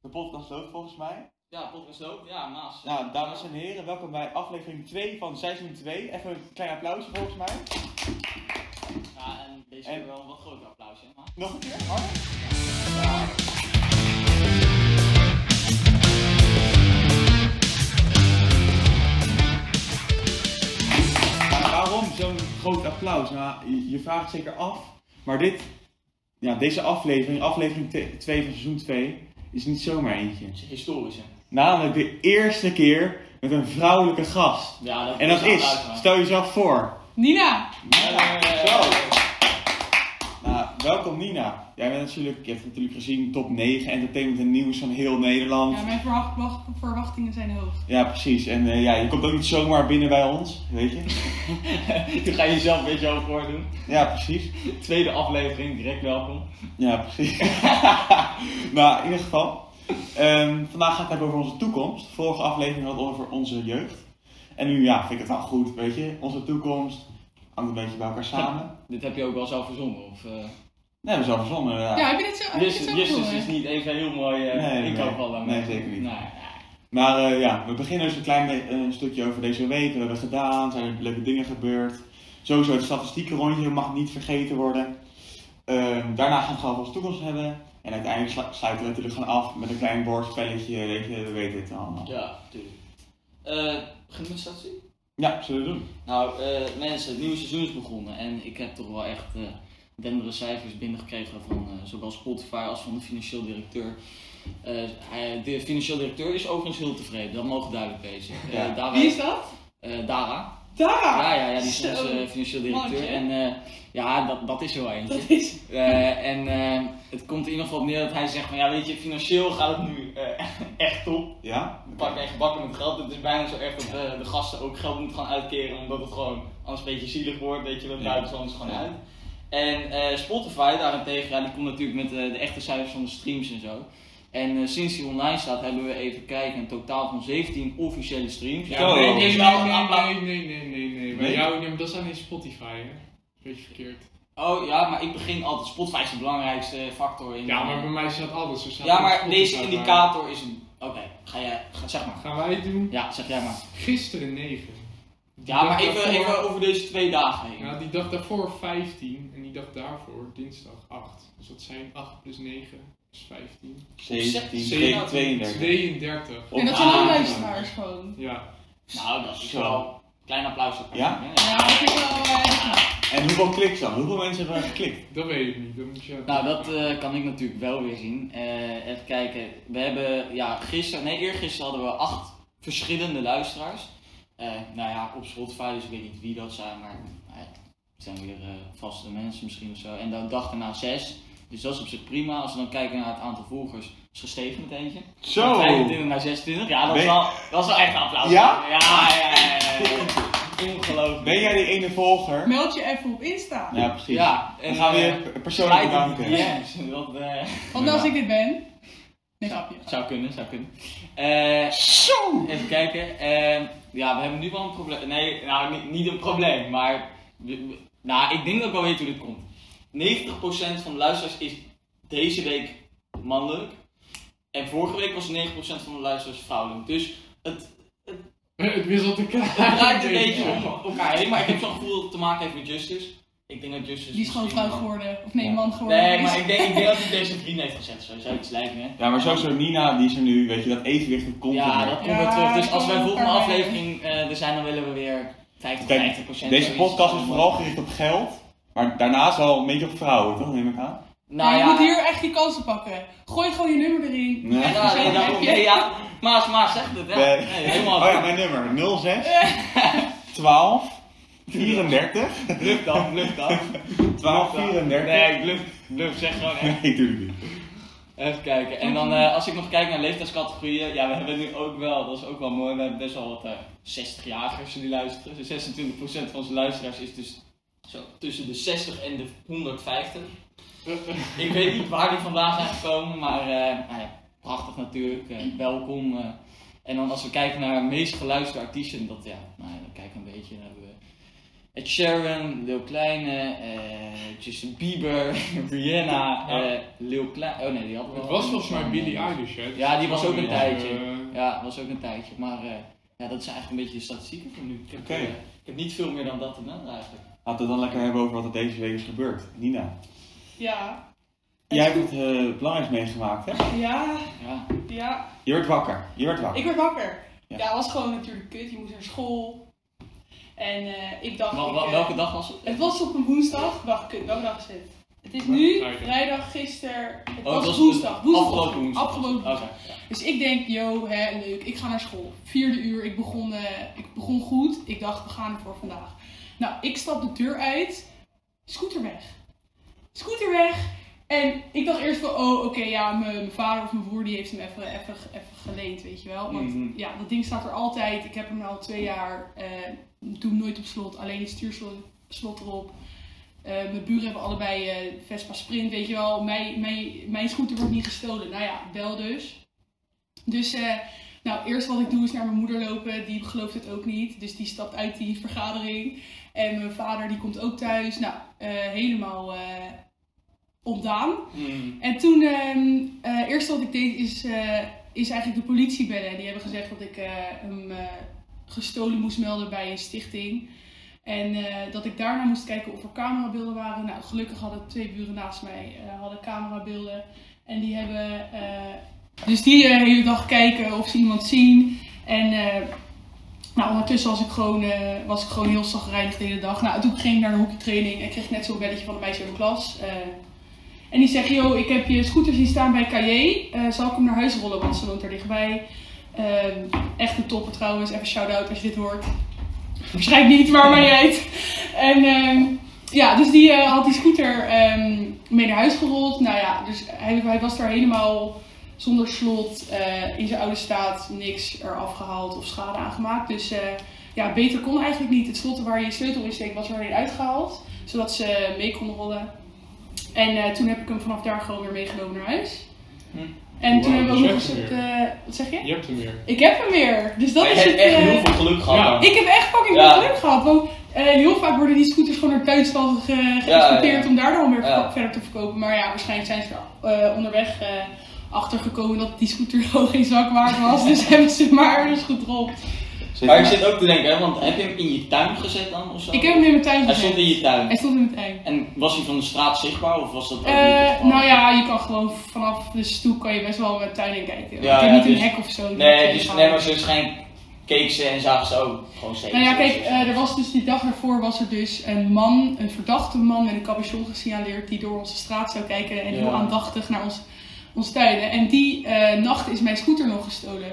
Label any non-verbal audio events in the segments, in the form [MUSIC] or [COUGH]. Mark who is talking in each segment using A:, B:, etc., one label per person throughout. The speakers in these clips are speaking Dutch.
A: De podcast loopt volgens mij.
B: Ja, podcast ook. Ja, Maas.
A: Nou, dames en heren, welkom bij aflevering 2 van seizoen 2. Even een klein applausje volgens mij.
B: Ja, en deze
A: En-
B: keer wel een wat groter applaus, hè, Maas.
A: Nog een keer, harder. Maar Nou, waarom zo'n groot applaus? Nou, je, je vraagt zeker af. Maar dit, ja, deze aflevering, aflevering 2 van seizoen 2, is niet zomaar eentje.
B: Het is historisch, hè.
A: Namelijk de eerste keer met een vrouwelijke gast.
B: Ja, dat
A: En dat
B: een
A: is,
B: applaus, maar.
A: stel jezelf voor.
C: Nina!
B: Ja, ja, ja.
A: Zo. Nou, welkom Nina. Jij bent natuurlijk, je hebt natuurlijk gezien top 9 entertainment en nieuws van heel Nederland.
C: Ja, mijn verwacht- wacht- verwachtingen zijn hoog.
A: Ja, precies. En eh, ja, je komt ook niet zomaar binnen bij ons, weet je?
B: Toen [LAUGHS] ga je jezelf weer zo voordoen.
A: Ja, precies.
B: Tweede aflevering, direct welkom.
A: Ja, precies. [LAUGHS] nou, in ieder geval. ehm, vandaag gaat het hebben over onze toekomst. Vorige aflevering had het over onze jeugd. En nu, ja, vind ik het wel goed, weet je? Onze toekomst hangt een beetje bij elkaar samen.
B: Dit heb je ook wel zelf verzonnen, of... eh?
A: Nee, we zijn verzonnen, ja.
C: Ja, heb je dit zo? Heb je dit
B: Justus
C: zo
B: Justus
C: gevoel, hè?
B: is niet even heel mooi eh
A: Nee,
B: inkoop
A: nee.
B: al aan
A: Nee,
B: mij.
A: zeker niet.
B: Nou, ja.
A: Maar eh, ja, we beginnen dus een klein be- eh, stukje over deze week. Wat hebben we gedaan? Zijn er leuke dingen gebeurd? Sowieso het statistieke rondje mag niet vergeten worden. Ehm, daarna gaan we het gewoon over onze toekomst hebben. En uiteindelijk slu- sluiten we natuurlijk gewoon af met een klein woordspelletje. Weet je, we weten het allemaal.
B: ja, tuurlijk. Eh, beginnen we straks
A: Ja, zullen we doen.
B: Nou, eh, mensen, het nieuwe seizoen is begonnen en ik heb toch wel echt eh dendere cijfers binnengekregen van eh, zowel Spotify als van de financieel directeur. Eh, hij- de financieel directeur is overigens heel tevreden, dat mogen duidelijk wezen. Eh,
A: Ja.
B: Dara,
C: Wie is dat?
B: eh, Dara.
C: Daar!
B: ja, ja, ja, die is
C: zo.
B: onze financieel directeur.
C: Mannetje.
B: En eh, ja, dat, dat is er wel eentje.
C: Dat is...
B: Eh, en eh, het komt in ieder geval op neer dat hij zegt van ja, weet je, financieel gaat het nu eh, echt top.
A: Ja?
B: We pakken echt bakken met geld. Het is bijna zo erg dat eh, de gasten ook geld moeten gaan uitkeren, omdat het gewoon anders een beetje zielig wordt, weet je, dat
A: Ja.
B: buiten anders gewoon
A: Ja.
B: uit. En eh, Spotify daarentegen, ja, die komt natuurlijk met eh, de echte cijfers van de streams en zo. En eh, sinds die online staat hebben we even kijken, een totaal van 17 officiële streams.
A: Oh.
D: Ja, nee,
B: dit
D: nee,
B: is wel
D: nee,
B: een
D: nee,
B: applaus.
D: nee, nee, nee, nee, nee. Bij
A: Nee?
D: jou, nee, maar dat staat niet Spotify, hè? Beetje verkeerd.
B: Oh ja, maar ik begin altijd. Spotify is de belangrijkste eh, factor in.
D: Ja, maar bij mij staat alles. er staat
B: Ja,
D: ook
B: maar
D: Spotify
B: deze
D: bij.
B: indicator is een. Oké, ga jij, ga, zeg maar.
D: Gaan wij doen?
B: Ja, zeg jij maar.
D: Gisteren 9.
B: Ja, maar even, even over deze twee dagen heen.
D: Nou, die dag daarvoor 15 en die dag daarvoor dinsdag 8. Dus dat zijn 8 plus 9 is 15.
A: 17
B: Zeven-
A: tegen 32.
D: 32.
C: En dat zijn de luisteraars gewoon.
D: Ja.
B: Nou, dat is
A: Zo.
B: wel. Klein applaus voor
A: Ja?
B: Patrick, hè?
C: Ja, dat vind ik wel... eh,
A: En hoeveel kliks dan? Hoeveel mensen hebben er geklikt?
D: Dat weet ik niet, dat moet je...
B: Nou, dat eh, kan ik natuurlijk wel weer zien. Eh, even kijken. We hebben ja, gisteren, nee, eergisteren hadden we acht verschillende luisteraars. Eh, nou ja, op Spotify, dus ik weet niet wie dat zijn, maar nou ja, het zijn weer eh, vaste mensen misschien of zo. En dan dag daarna zes. Dus dat is op zich prima. Als we dan kijken naar het aantal volgers, is gestegen met eentje.
A: Zo!
B: Van 25 naar 26. Ja, dat is
A: Ben-
B: wel, dat is wel echt een applaus.
A: Ja?
B: Ja, ja, ja. ja,
A: [LAUGHS]
B: ja. Ongelooflijk.
A: Ben jij die ene volger?
C: Meld je even op Insta.
A: Ja, precies.
B: Ja,
A: Dan
B: en
A: gaan we
B: eh,
A: je persoonlijk
B: Spijt op die
A: bedanken.
B: DM's, [LAUGHS] dat eh,
C: Want als ik dit ben... Nee, grapje.
B: zou kunnen, zou kunnen. Eh,
A: Zo!
B: even kijken. eh, ja, we hebben nu wel een probleem. Nee, nou, niet, niet een probleem, maar. we- we- nou, ik denk dat ik wel weet hoe dit komt. 90% van de luisteraars is deze week mannelijk. En vorige week was 9% van de luisteraars vrouwelijk. Dus
C: [LAUGHS]
B: het
D: [LAUGHS] Het
B: [LAUGHS]
D: wisselt elkaar.
B: draait een beetje
A: Ja.
B: om elkaar heen. Maar ik heb zo'n gevoel dat het te maken heeft met Justice. Ik denk dat Justice.
C: Die is gewoon
B: misschien-
C: vrouw geworden. Of nee, man geworden.
B: Nee, maar ik denk, ik denk dat hij deze vriend heeft gezet. Zo zou iets lijken, hè?
A: Ja, maar sowieso Nina, die is er nu, weet je, dat evenwicht, dat komt
B: Ja,
A: er nu.
B: dat komt weer
C: Ja,
B: terug. Dus
C: dat
B: als
C: komt
B: wij
C: wel
B: volgende
C: een paar
B: aflevering eh, er zijn, dan willen we weer 50,
A: Kijk,
B: 50 procent.
A: Deze podcast is vooral gericht op geld, maar daarnaast wel een beetje op vrouwen, toch? Neem ik aan.
B: Nou
C: je
B: ja,
C: moet hier echt die kansen pakken. Gooi gewoon je nummer erin.
A: Nee.
B: ja,
C: Echt, zo
B: ja,
C: heb
B: daarom-
C: je-
B: nee, ja. Maas, Maas zegt het,
A: Nee.
B: hè? Nee, helemaal.
A: Oh ja, mijn nummer
B: [LAUGHS]
A: 06 12 34
B: Bluf dan, bluf dan.
A: 12
B: Nee,
A: 34.
B: ik bluf, bluf, zeg gewoon
A: [LAUGHS]
B: echt.
A: Nee, tuurlijk niet.
B: Even kijken. En dan, eh, als ik nog kijk naar leeftijdscategorieën, ja, we hebben nu ook wel, dat is ook wel mooi, we hebben best wel wat eh, 60-jagers die luisteren. Dus 26% van onze luisteraars is dus zo tussen de 60 en de 150. Ik weet niet waar die vandaan zijn gekomen, maar eh, nou ja, prachtig natuurlijk. eh, welkom. eh. en dan als we kijken naar meest geluisterde artiesten, dat ja, nou ja, dan kijken we een beetje. Dan hebben we Ed Sheeran, Lil Kleine, eh, Justin Bieber, [LAUGHS] Rihanna,
D: Ja.
B: eh, Lil Kleine. Oh nee, die had wel.
D: Het was volgens mij Billie Eilish, hè?
B: Ja, die was ook een
D: Eh,
B: tijdje. Ja, was ook een tijdje. Maar eh, ja, dat zijn eigenlijk een beetje de statistieken voor nu. Ik heb,
A: Oké.
B: eh, ik heb niet veel meer dan dat te melden eigenlijk.
A: Laten we het dan lekker hebben over wat er deze week is gebeurd. Nina,
C: Ja.
A: jij hebt het eh, belangrijks meegemaakt, hè?
C: Ja,
B: Ja.
C: ja.
A: Je werd wakker. Je werd wakker.
C: Ik werd wakker.
A: Ja.
C: Ja, het was gewoon natuurlijk kut. Je moest naar school. En eh, ik dacht...
B: Wel-
C: ik,
B: wel-
C: eh,
B: welke dag was het?
C: Het was op een woensdag. Wacht, kut, welke dag is het? Het is nu
D: Vrijdag.
C: vrijdag, gisteren. Het
B: Oh,
C: was,
B: het
C: woensdag. woensdag.
B: Afgelopen woensdag.
C: Afgelopen
B: Oké.
C: woensdag. Dus ik denk, yo, hè, leuk, ik ga naar school. Vierde uur, ik begon, eh, ik begon goed. Ik dacht, we gaan ervoor vandaag. Nou, ik stap de deur uit. Scooter weg. Scooter weg. En ik dacht eerst van, oh, oké, ja, mijn mijn vader of mijn broer die heeft hem even, even, even geleend, weet je wel. Want
B: Mhm.
C: ja, dat ding staat er altijd. Ik heb hem al twee jaar. eh doe hem nooit op slot, alleen het stuurslot slot erop. Eh, mijn buren hebben allebei eh, Vespa Sprint, weet je wel. Mijn, mijn, mijn scooter wordt niet gestolen. Nou ja, wel dus. Dus, eh, nou, eerst wat ik doe is naar mijn moeder lopen. Die gelooft het ook niet. Dus die stapt uit die vergadering. En mijn vader, die komt ook thuis. Nou, eh, helemaal eh ontdaan.
B: Mm.
C: En toen, ehm eh eerst wat ik deed, is, eh, is eigenlijk de politie bellen. En die hebben gezegd dat ik eh, hem eh, gestolen moest melden bij een stichting. En eh, dat ik daarna moest kijken of er camerabeelden waren. Nou, gelukkig hadden twee buren naast mij eh, hadden camerabeelden. En die hebben. eh, dus die eh, de hele dag kijken of ze iemand zien. En eh, nou, ondertussen was ik gewoon, eh, was ik gewoon heel zagrijnig de hele dag. Nou, toen ging ik naar de hockeytraining en kreeg net zo'n belletje van een meisje uit mijn klas. eh, en die zegt, yo, ik heb je scooter zien staan bij Cahier. Eh, zal ik hem naar huis rollen, want ze woont er dichtbij. Ehm, echt een topper trouwens. Even shout-out als je dit hoort. Waarschijnlijk niet, maar mij uit. En ehm, ja, dus die eh, had die scooter ehm, mee naar huis gerold. Nou ja, dus hij, hij was daar helemaal zonder slot, eh, in zijn oude staat, niks eraf gehaald of schade aangemaakt. Dus eh, ja, beter kon eigenlijk niet. Het slot waar je sleutel in steekt was er alleen uitgehaald, zodat ze mee konden rollen. En eh, toen heb ik hem vanaf daar gewoon weer meegenomen naar huis.
B: Hm.
C: En toen
D: Wauw,
C: hebben we ook
D: dus
C: nog
D: je
C: eens
D: hebt
C: het...
D: hem
C: eh, wat zeg je?
D: Je hebt hem weer.
C: Ik heb hem weer! Dus dat
B: Maar je
C: is het...
B: hebt echt
C: eh,
B: heel veel geluk gehad.
D: Ja.
B: dan.
C: ik heb echt fucking
B: Ja.
C: veel geluk gehad. Want eh, heel vaak worden die scooters gewoon naar Duitsland ge- geëxporteerd
B: ja.
C: om daar dan weer
B: Ja.
C: verder te verkopen. Maar ja, waarschijnlijk zijn ze er eh, onderweg eh, achtergekomen dat die scooter [LAUGHS] gewoon geen zak waard was. dus [LAUGHS] hebben ze hem maar eens gedropt.
B: Maar Oh, ik zit ook te denken, hè, want heb je hem in je tuin gezet dan of zo?
C: Ik heb hem in mijn tuin
B: Hij stond
C: gezet.
B: in je tuin.
C: Hij stond in mijn tuin.
B: En was hij van de straat zichtbaar of was dat ook niet het
C: Eh,
B: geval?
C: nou ja, je kan gewoon vanaf de stoep kan je best wel mijn tuin in kijken.
B: Ja,
C: ik heb
B: ja,
C: niet
B: dus-
C: een hek of zo.
B: Nee,
C: dat
B: dus,
C: je
B: nee, maar
C: gaat-
B: ze waarschijnlijk keek ze en zagen ze ook gewoon steeds.
C: Nou ja, kijk, eh, er was dus die dag daarvoor was er dus een man, een verdachte man met een capuchon gesignaleerd die door onze straat zou kijken en
B: Ja.
C: heel aandachtig naar ons, ons tuinen. En die eh, nacht is mijn scooter nog gestolen.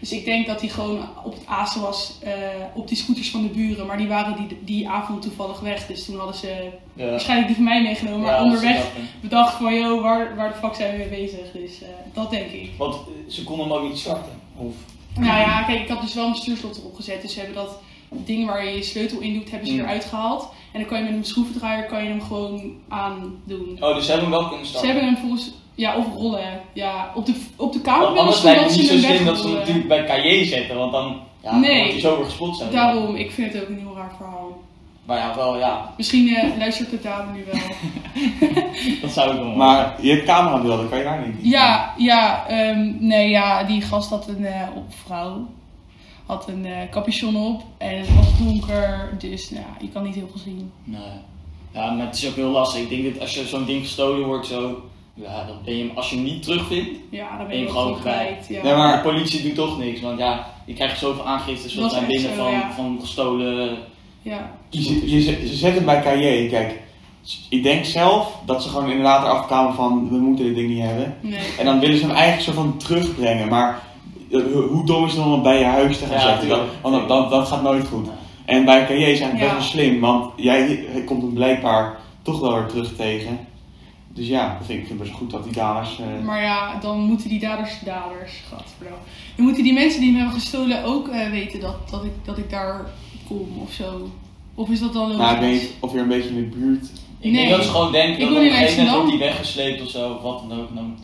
C: Dus ik denk dat hij gewoon op het azen was eh, op die scooters van de buren. Maar die waren die, die avond toevallig weg. Dus toen hadden ze
B: Ja.
C: waarschijnlijk die van mij meegenomen.
B: Ja,
C: maar onderweg
B: ze dachten-
C: bedacht van, joh, waar, waar de fuck zijn we mee bezig? Dus eh, dat denk ik.
B: Want eh, ze konden hem ook niet starten. Of,
C: Nou ja, kijk, ik had dus wel mijn stuurslot erop gezet. Dus ze hebben dat ding waar je je sleutel in doet, hebben ze
B: Mm.
C: eruit gehaald. En dan kan je met een schroevendraaier kan je hem gewoon aandoen.
B: oh, dus ze hebben hem wel kunnen
C: Ze
B: starten.
C: hebben hem volgens... Ja, of rollen. Ja, op de, op de
B: Want
C: kamer
B: anders lijkt het
C: ze
B: niet zo
C: hem
B: slim dat ze hem
C: wegrollen.
B: natuurlijk bij Cahier zetten, want dan ja,
C: Nee.
B: wordt hij zo weer gespot. zijn.
C: Daarom, ik vind het ook een heel raar verhaal.
B: Maar ja, wel
C: [LAUGHS]
B: ja,
C: Misschien eh, luistert de dame nu wel.
B: dat zou ik wel.
A: Maar je hebt camerabeelden, kan je daar niet?
C: ja, ja, ehm, nee, ja, die gast had een eh, op vrouw. Had een eh, capuchon op en het was donker, dus nou, je kan niet heel veel zien.
B: Nee. Ja, maar het is ook heel lastig. Ik denk dat als je zo'n ding gestolen wordt, zo, ja, dan ben je hem, als je hem niet terugvindt,
C: Ja, dan ben
B: Ben
C: je
B: je
C: ook
B: gewoon
C: gewoon kwijt. Ja.
A: Nee, maar
B: de politie doet toch niks. Want ja, je krijgt zoveel aangiftes
C: Dat
B: wat
C: is
B: zijn
C: echt
B: binnen
C: zo,
B: van,
C: ja.
B: van gestolen
C: Ja,
A: je, zet- je, zet- ze zetten bij KJ, kijk. Ik denk zelf dat ze gewoon inderdaad erachter kwamen van, we moeten dit ding niet hebben.
C: nee.
A: En dan willen ze hem eigenlijk soort van terugbrengen, maar eh, ho- hoe dom is het dan om het bij je huis te gaan
B: Ja,
A: zetten? Dat,
B: tuurlijk.
A: want dat, dat, dat gaat nooit goed. En bij KJ zijn het best
C: Ja.
A: wel slim, want jij komt hem blijkbaar toch wel weer terug tegen. Dus ja, dat vind ik vind ik best goed dat die dames... eh,
C: Maar ja, dan moeten die daders, daders, gadverdamme. Dan moeten die mensen die me hebben gestolen ook eh, weten dat, dat, ik, dat ik daar kom of zo. Of is dat dan logisch?
A: nou, ik weet niet of je een beetje in de buurt...
B: Ik
C: Nee.
B: denk dat ze gewoon denken
C: Ik
B: dat op
C: woon
B: een
C: in
B: gegeven moment wordt
C: Amsterdam.
B: die weggesleept of zo, of wat dan ook. En dan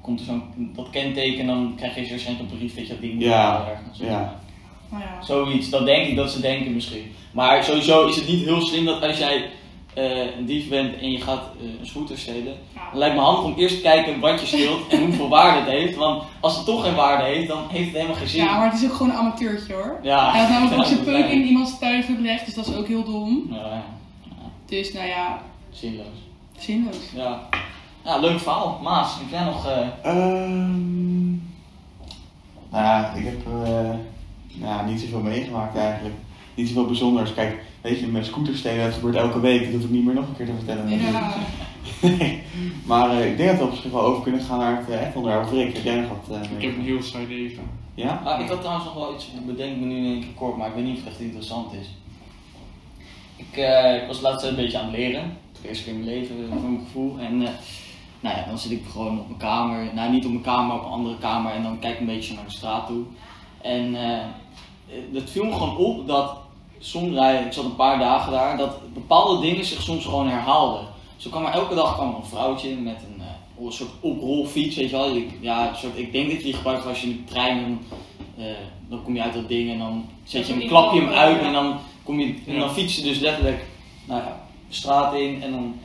B: komt er zo'n dat kenteken en dan krijg je waarschijnlijk een brief dat je dat ding moet
A: Ja,
B: halen ergens.
A: Ja.
C: Nou ja.
B: Zoiets, dat denk ik dat ze denken misschien. Maar sowieso is het niet heel slim dat als jij eh, een dief bent en je gaat eh, een scooter stelen,
C: Ja.
B: dan lijkt me handig om eerst te kijken wat je steelt en hoeveel waarde het heeft. Want als het toch geen waarde heeft, dan heeft het helemaal geen zin.
C: Ja, maar het is ook gewoon een amateurtje hoor.
B: Ja.
C: Hij had namelijk ook
B: Ja,
C: zijn
B: dat
C: peuk
B: lijkt me.
C: in iemands tuin gelegd, dus dat is ook heel dom.
B: Ja, ja.
C: Dus nou ja,
B: zinloos.
C: zinloos.
B: Ja. ja, leuk verhaal. Maas, heb jij nog... eh,
A: Ehm, nou ja, ik heb eh, nou, ja, niet zoveel meegemaakt eigenlijk. Niet zoveel bijzonders. Kijk, weet je, met scooters stelen, dat gebeurt elke week. Dat hoef ik niet meer nog een keer te vertellen. natuurlijk.
C: Ja,
A: Nee. maar eh, ik denk dat we op zich wel over kunnen gaan naar het eh, echt onderwerp. Rick, heb jij nog wat eh,
D: Ik
A: mee?
D: heb een heel saai leven.
A: Ja?
B: ah, ik had trouwens nog wel iets, ik bedenk me nu in één keer kort, maar ik weet niet of het echt interessant is. Ik, eh, ik was laatst een beetje aan het leren. Voor de eerste keer in mijn leven, eh, voor mijn gevoel. En eh, nou ja, dan zit ik gewoon op mijn kamer. Nou, niet op mijn kamer, maar op een andere kamer. En dan kijk ik een beetje naar de straat toe. En eh, het viel me gewoon op dat soms, nou ja, ik zat een paar dagen daar, dat bepaalde dingen zich soms gewoon herhaalden. Zo kwam er elke dag kwam er een vrouwtje met een eh, een soort oprolfiets, weet je wel. Ik, ja, een soort, ik denk dat je die gebruikt als je in de trein, en, eh, dan kom je uit dat ding en dan zet je hem, klap je hem uit en dan, kom je, en dan fiets je dus letterlijk nou ja, de straat in en dan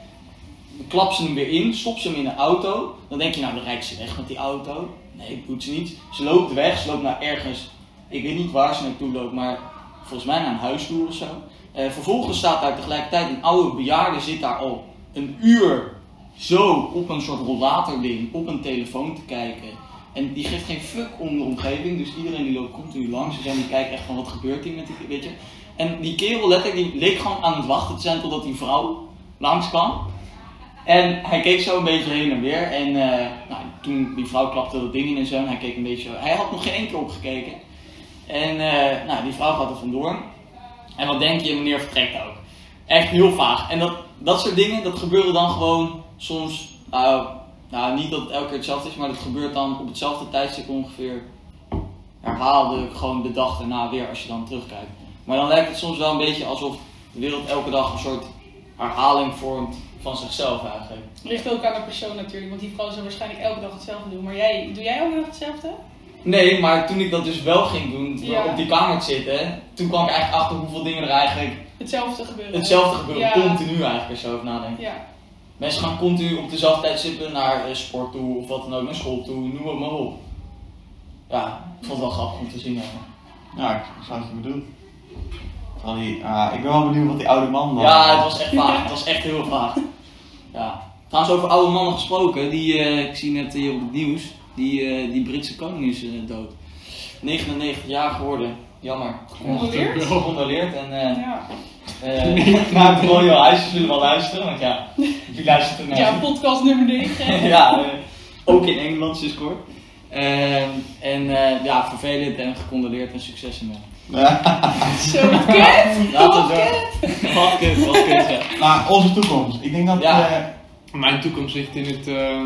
B: klap ze hem weer in, stop ze hem in een auto. Dan denk je, nou dan rijdt ze weg met die auto. Nee, dat doet ze niet. Ze loopt weg, ze loopt naar ergens, ik weet niet waar ze naartoe loopt, maar volgens mij naar een huisvloer of zo. Eh, vervolgens staat daar tegelijkertijd een oude bejaarde zit daar al een uur zo op een soort rollatording, op een telefoon te kijken. En die geeft geen fuck om de omgeving, dus iedereen die loopt continu langs en die kijkt echt van wat gebeurt hier met die, weet je. En die kerel letterlijk, die leek gewoon aan het wachten te zijn totdat die vrouw langs kwam. En hij keek zo een beetje heen en weer. En eh, nou, toen die vrouw klapte dat ding in en zo. En hij keek een beetje. Hij had nog geen enkele opgekeken. En eh, nou, die vrouw gaat er vandoor. En wat denk je, meneer vertrekt ook. Echt heel vaag. En dat, dat soort dingen, dat gebeuren dan gewoon soms. Nou, nou, niet dat het elke keer hetzelfde is, maar dat gebeurt dan op hetzelfde tijdstip ongeveer. Herhaaldelijk gewoon de dag daarna weer als je dan terugkijkt. Maar dan lijkt het soms wel een beetje alsof de wereld elke dag een soort herhaling vormt van zichzelf eigenlijk.
C: ligt ook aan de persoon natuurlijk, want die vrouw zou waarschijnlijk elke dag hetzelfde doen. Maar jij, doe jij elke dag hetzelfde?
B: Nee, maar toen ik dat dus wel ging doen, toen
C: Ja.
B: ik op die kamer te zitten, toen kwam ik eigenlijk achter hoeveel dingen er eigenlijk
C: Hetzelfde gebeuren.
B: hetzelfde gebeuren,
C: Ja.
B: continu eigenlijk als je over nadenkt.
C: Ja,
B: Mensen gaan continu op dezelfde tijd zitten naar eh, sport toe of wat dan ook, naar school toe, noem het maar op. Ja, ik vond het wel grappig om te zien. eigenlijk.
A: Nou, ik snap wat je bedoelt. Vooral die, ah, ik ben wel benieuwd wat die oude man dan... eh,
B: Ja,
C: Oh.
B: het was echt vaag, het was echt heel vaag. Ja. Trouwens, over oude mannen gesproken, die, eh, ik zie net hier op het nieuws, die, eh, die Britse koning is eh, dood. 99 jaar geworden, jammer.
C: Gecondoleerd?
B: Ja,
D: [LAUGHS]
B: Gecondoleerd en... eh,
C: Oh. ja.
B: Eh, [LAUGHS] maar het Royal Huis, ze zullen wel luisteren, want ja, die luistert er naar.
C: ja podcast nummer 9.
B: [LAUGHS] Ja, eh, ook in Engeland sinds kort. Ehm, en eh, ja, vervelend en gecondoleerd en succes ermee.
C: [LAUGHS] Zo, wat kut!
B: Laten
C: Wat
B: we
C: kut!
B: door. [LAUGHS] Wat kut, wat kut, ja.
A: [LAUGHS] Maar onze toekomst. Ik denk dat...
B: Ja.
A: eh,
D: Mijn toekomst ligt in het. ehm,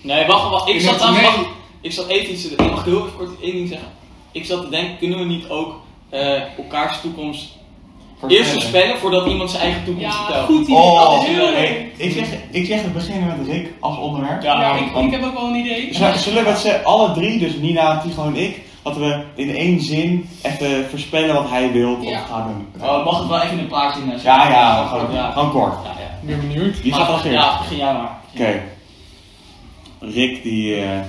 B: Nee, wacht, wacht, ik
D: Ik
B: zat
D: moet
B: aan,
D: mee.
B: wacht, ik zat even iets, te- ik mag heel even kort één ding zeggen. Ik zat te denken, kunnen we niet ook eh, elkaars toekomst
A: voor
B: eerst
A: verder.
B: voorspellen voordat iemand zijn eigen toekomst
C: Ja,
B: vertelt?
C: goed idee.
A: Oh,
C: dat is heel leuk.
A: hey, ik, zeg, ik zeg het beginnen met Rick als onderwerp.
B: Ja,
C: Ja, ik, ik heb ook wel een idee.
A: Z- Zullen we dat ze alle drie, dus Nina, Tigo en ik, dat we in één zin even voorspellen wat hij wil of
C: Ja.
A: gaat doen?
B: Oh, mag het wel even in een paar zinnen?
A: Ja,
B: zeggen?
A: ja, gewoon,
B: ja.
A: gewoon kort.
B: Ja, ja.
D: Ik ben benieuwd.
A: Wie gaat
B: Maar-
A: als eerst?
B: Ja, begin jij maar.
A: Oké. Rick die, eh,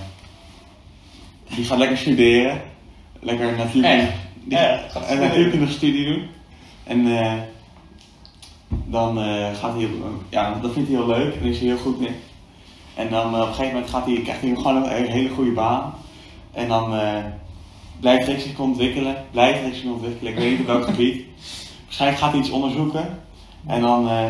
A: die gaat lekker studeren. Lekker natuurlijk.
B: Echt?
A: Die,
B: Echt? Gaat
A: een
B: studeren?
A: natuurkundige studie doen. En eh, dan eh, gaat hij, op- ja, dat vindt hij heel leuk en is hij heel goed mee. En dan eh, op een gegeven moment gaat hij, krijgt hij gewoon een, een hele goede baan. En dan eh, blijft Rick zich ontwikkelen, blijft Rick zich ontwikkelen, ik weet niet op welk gebied. Waarschijnlijk gaat hij iets onderzoeken. En dan eh,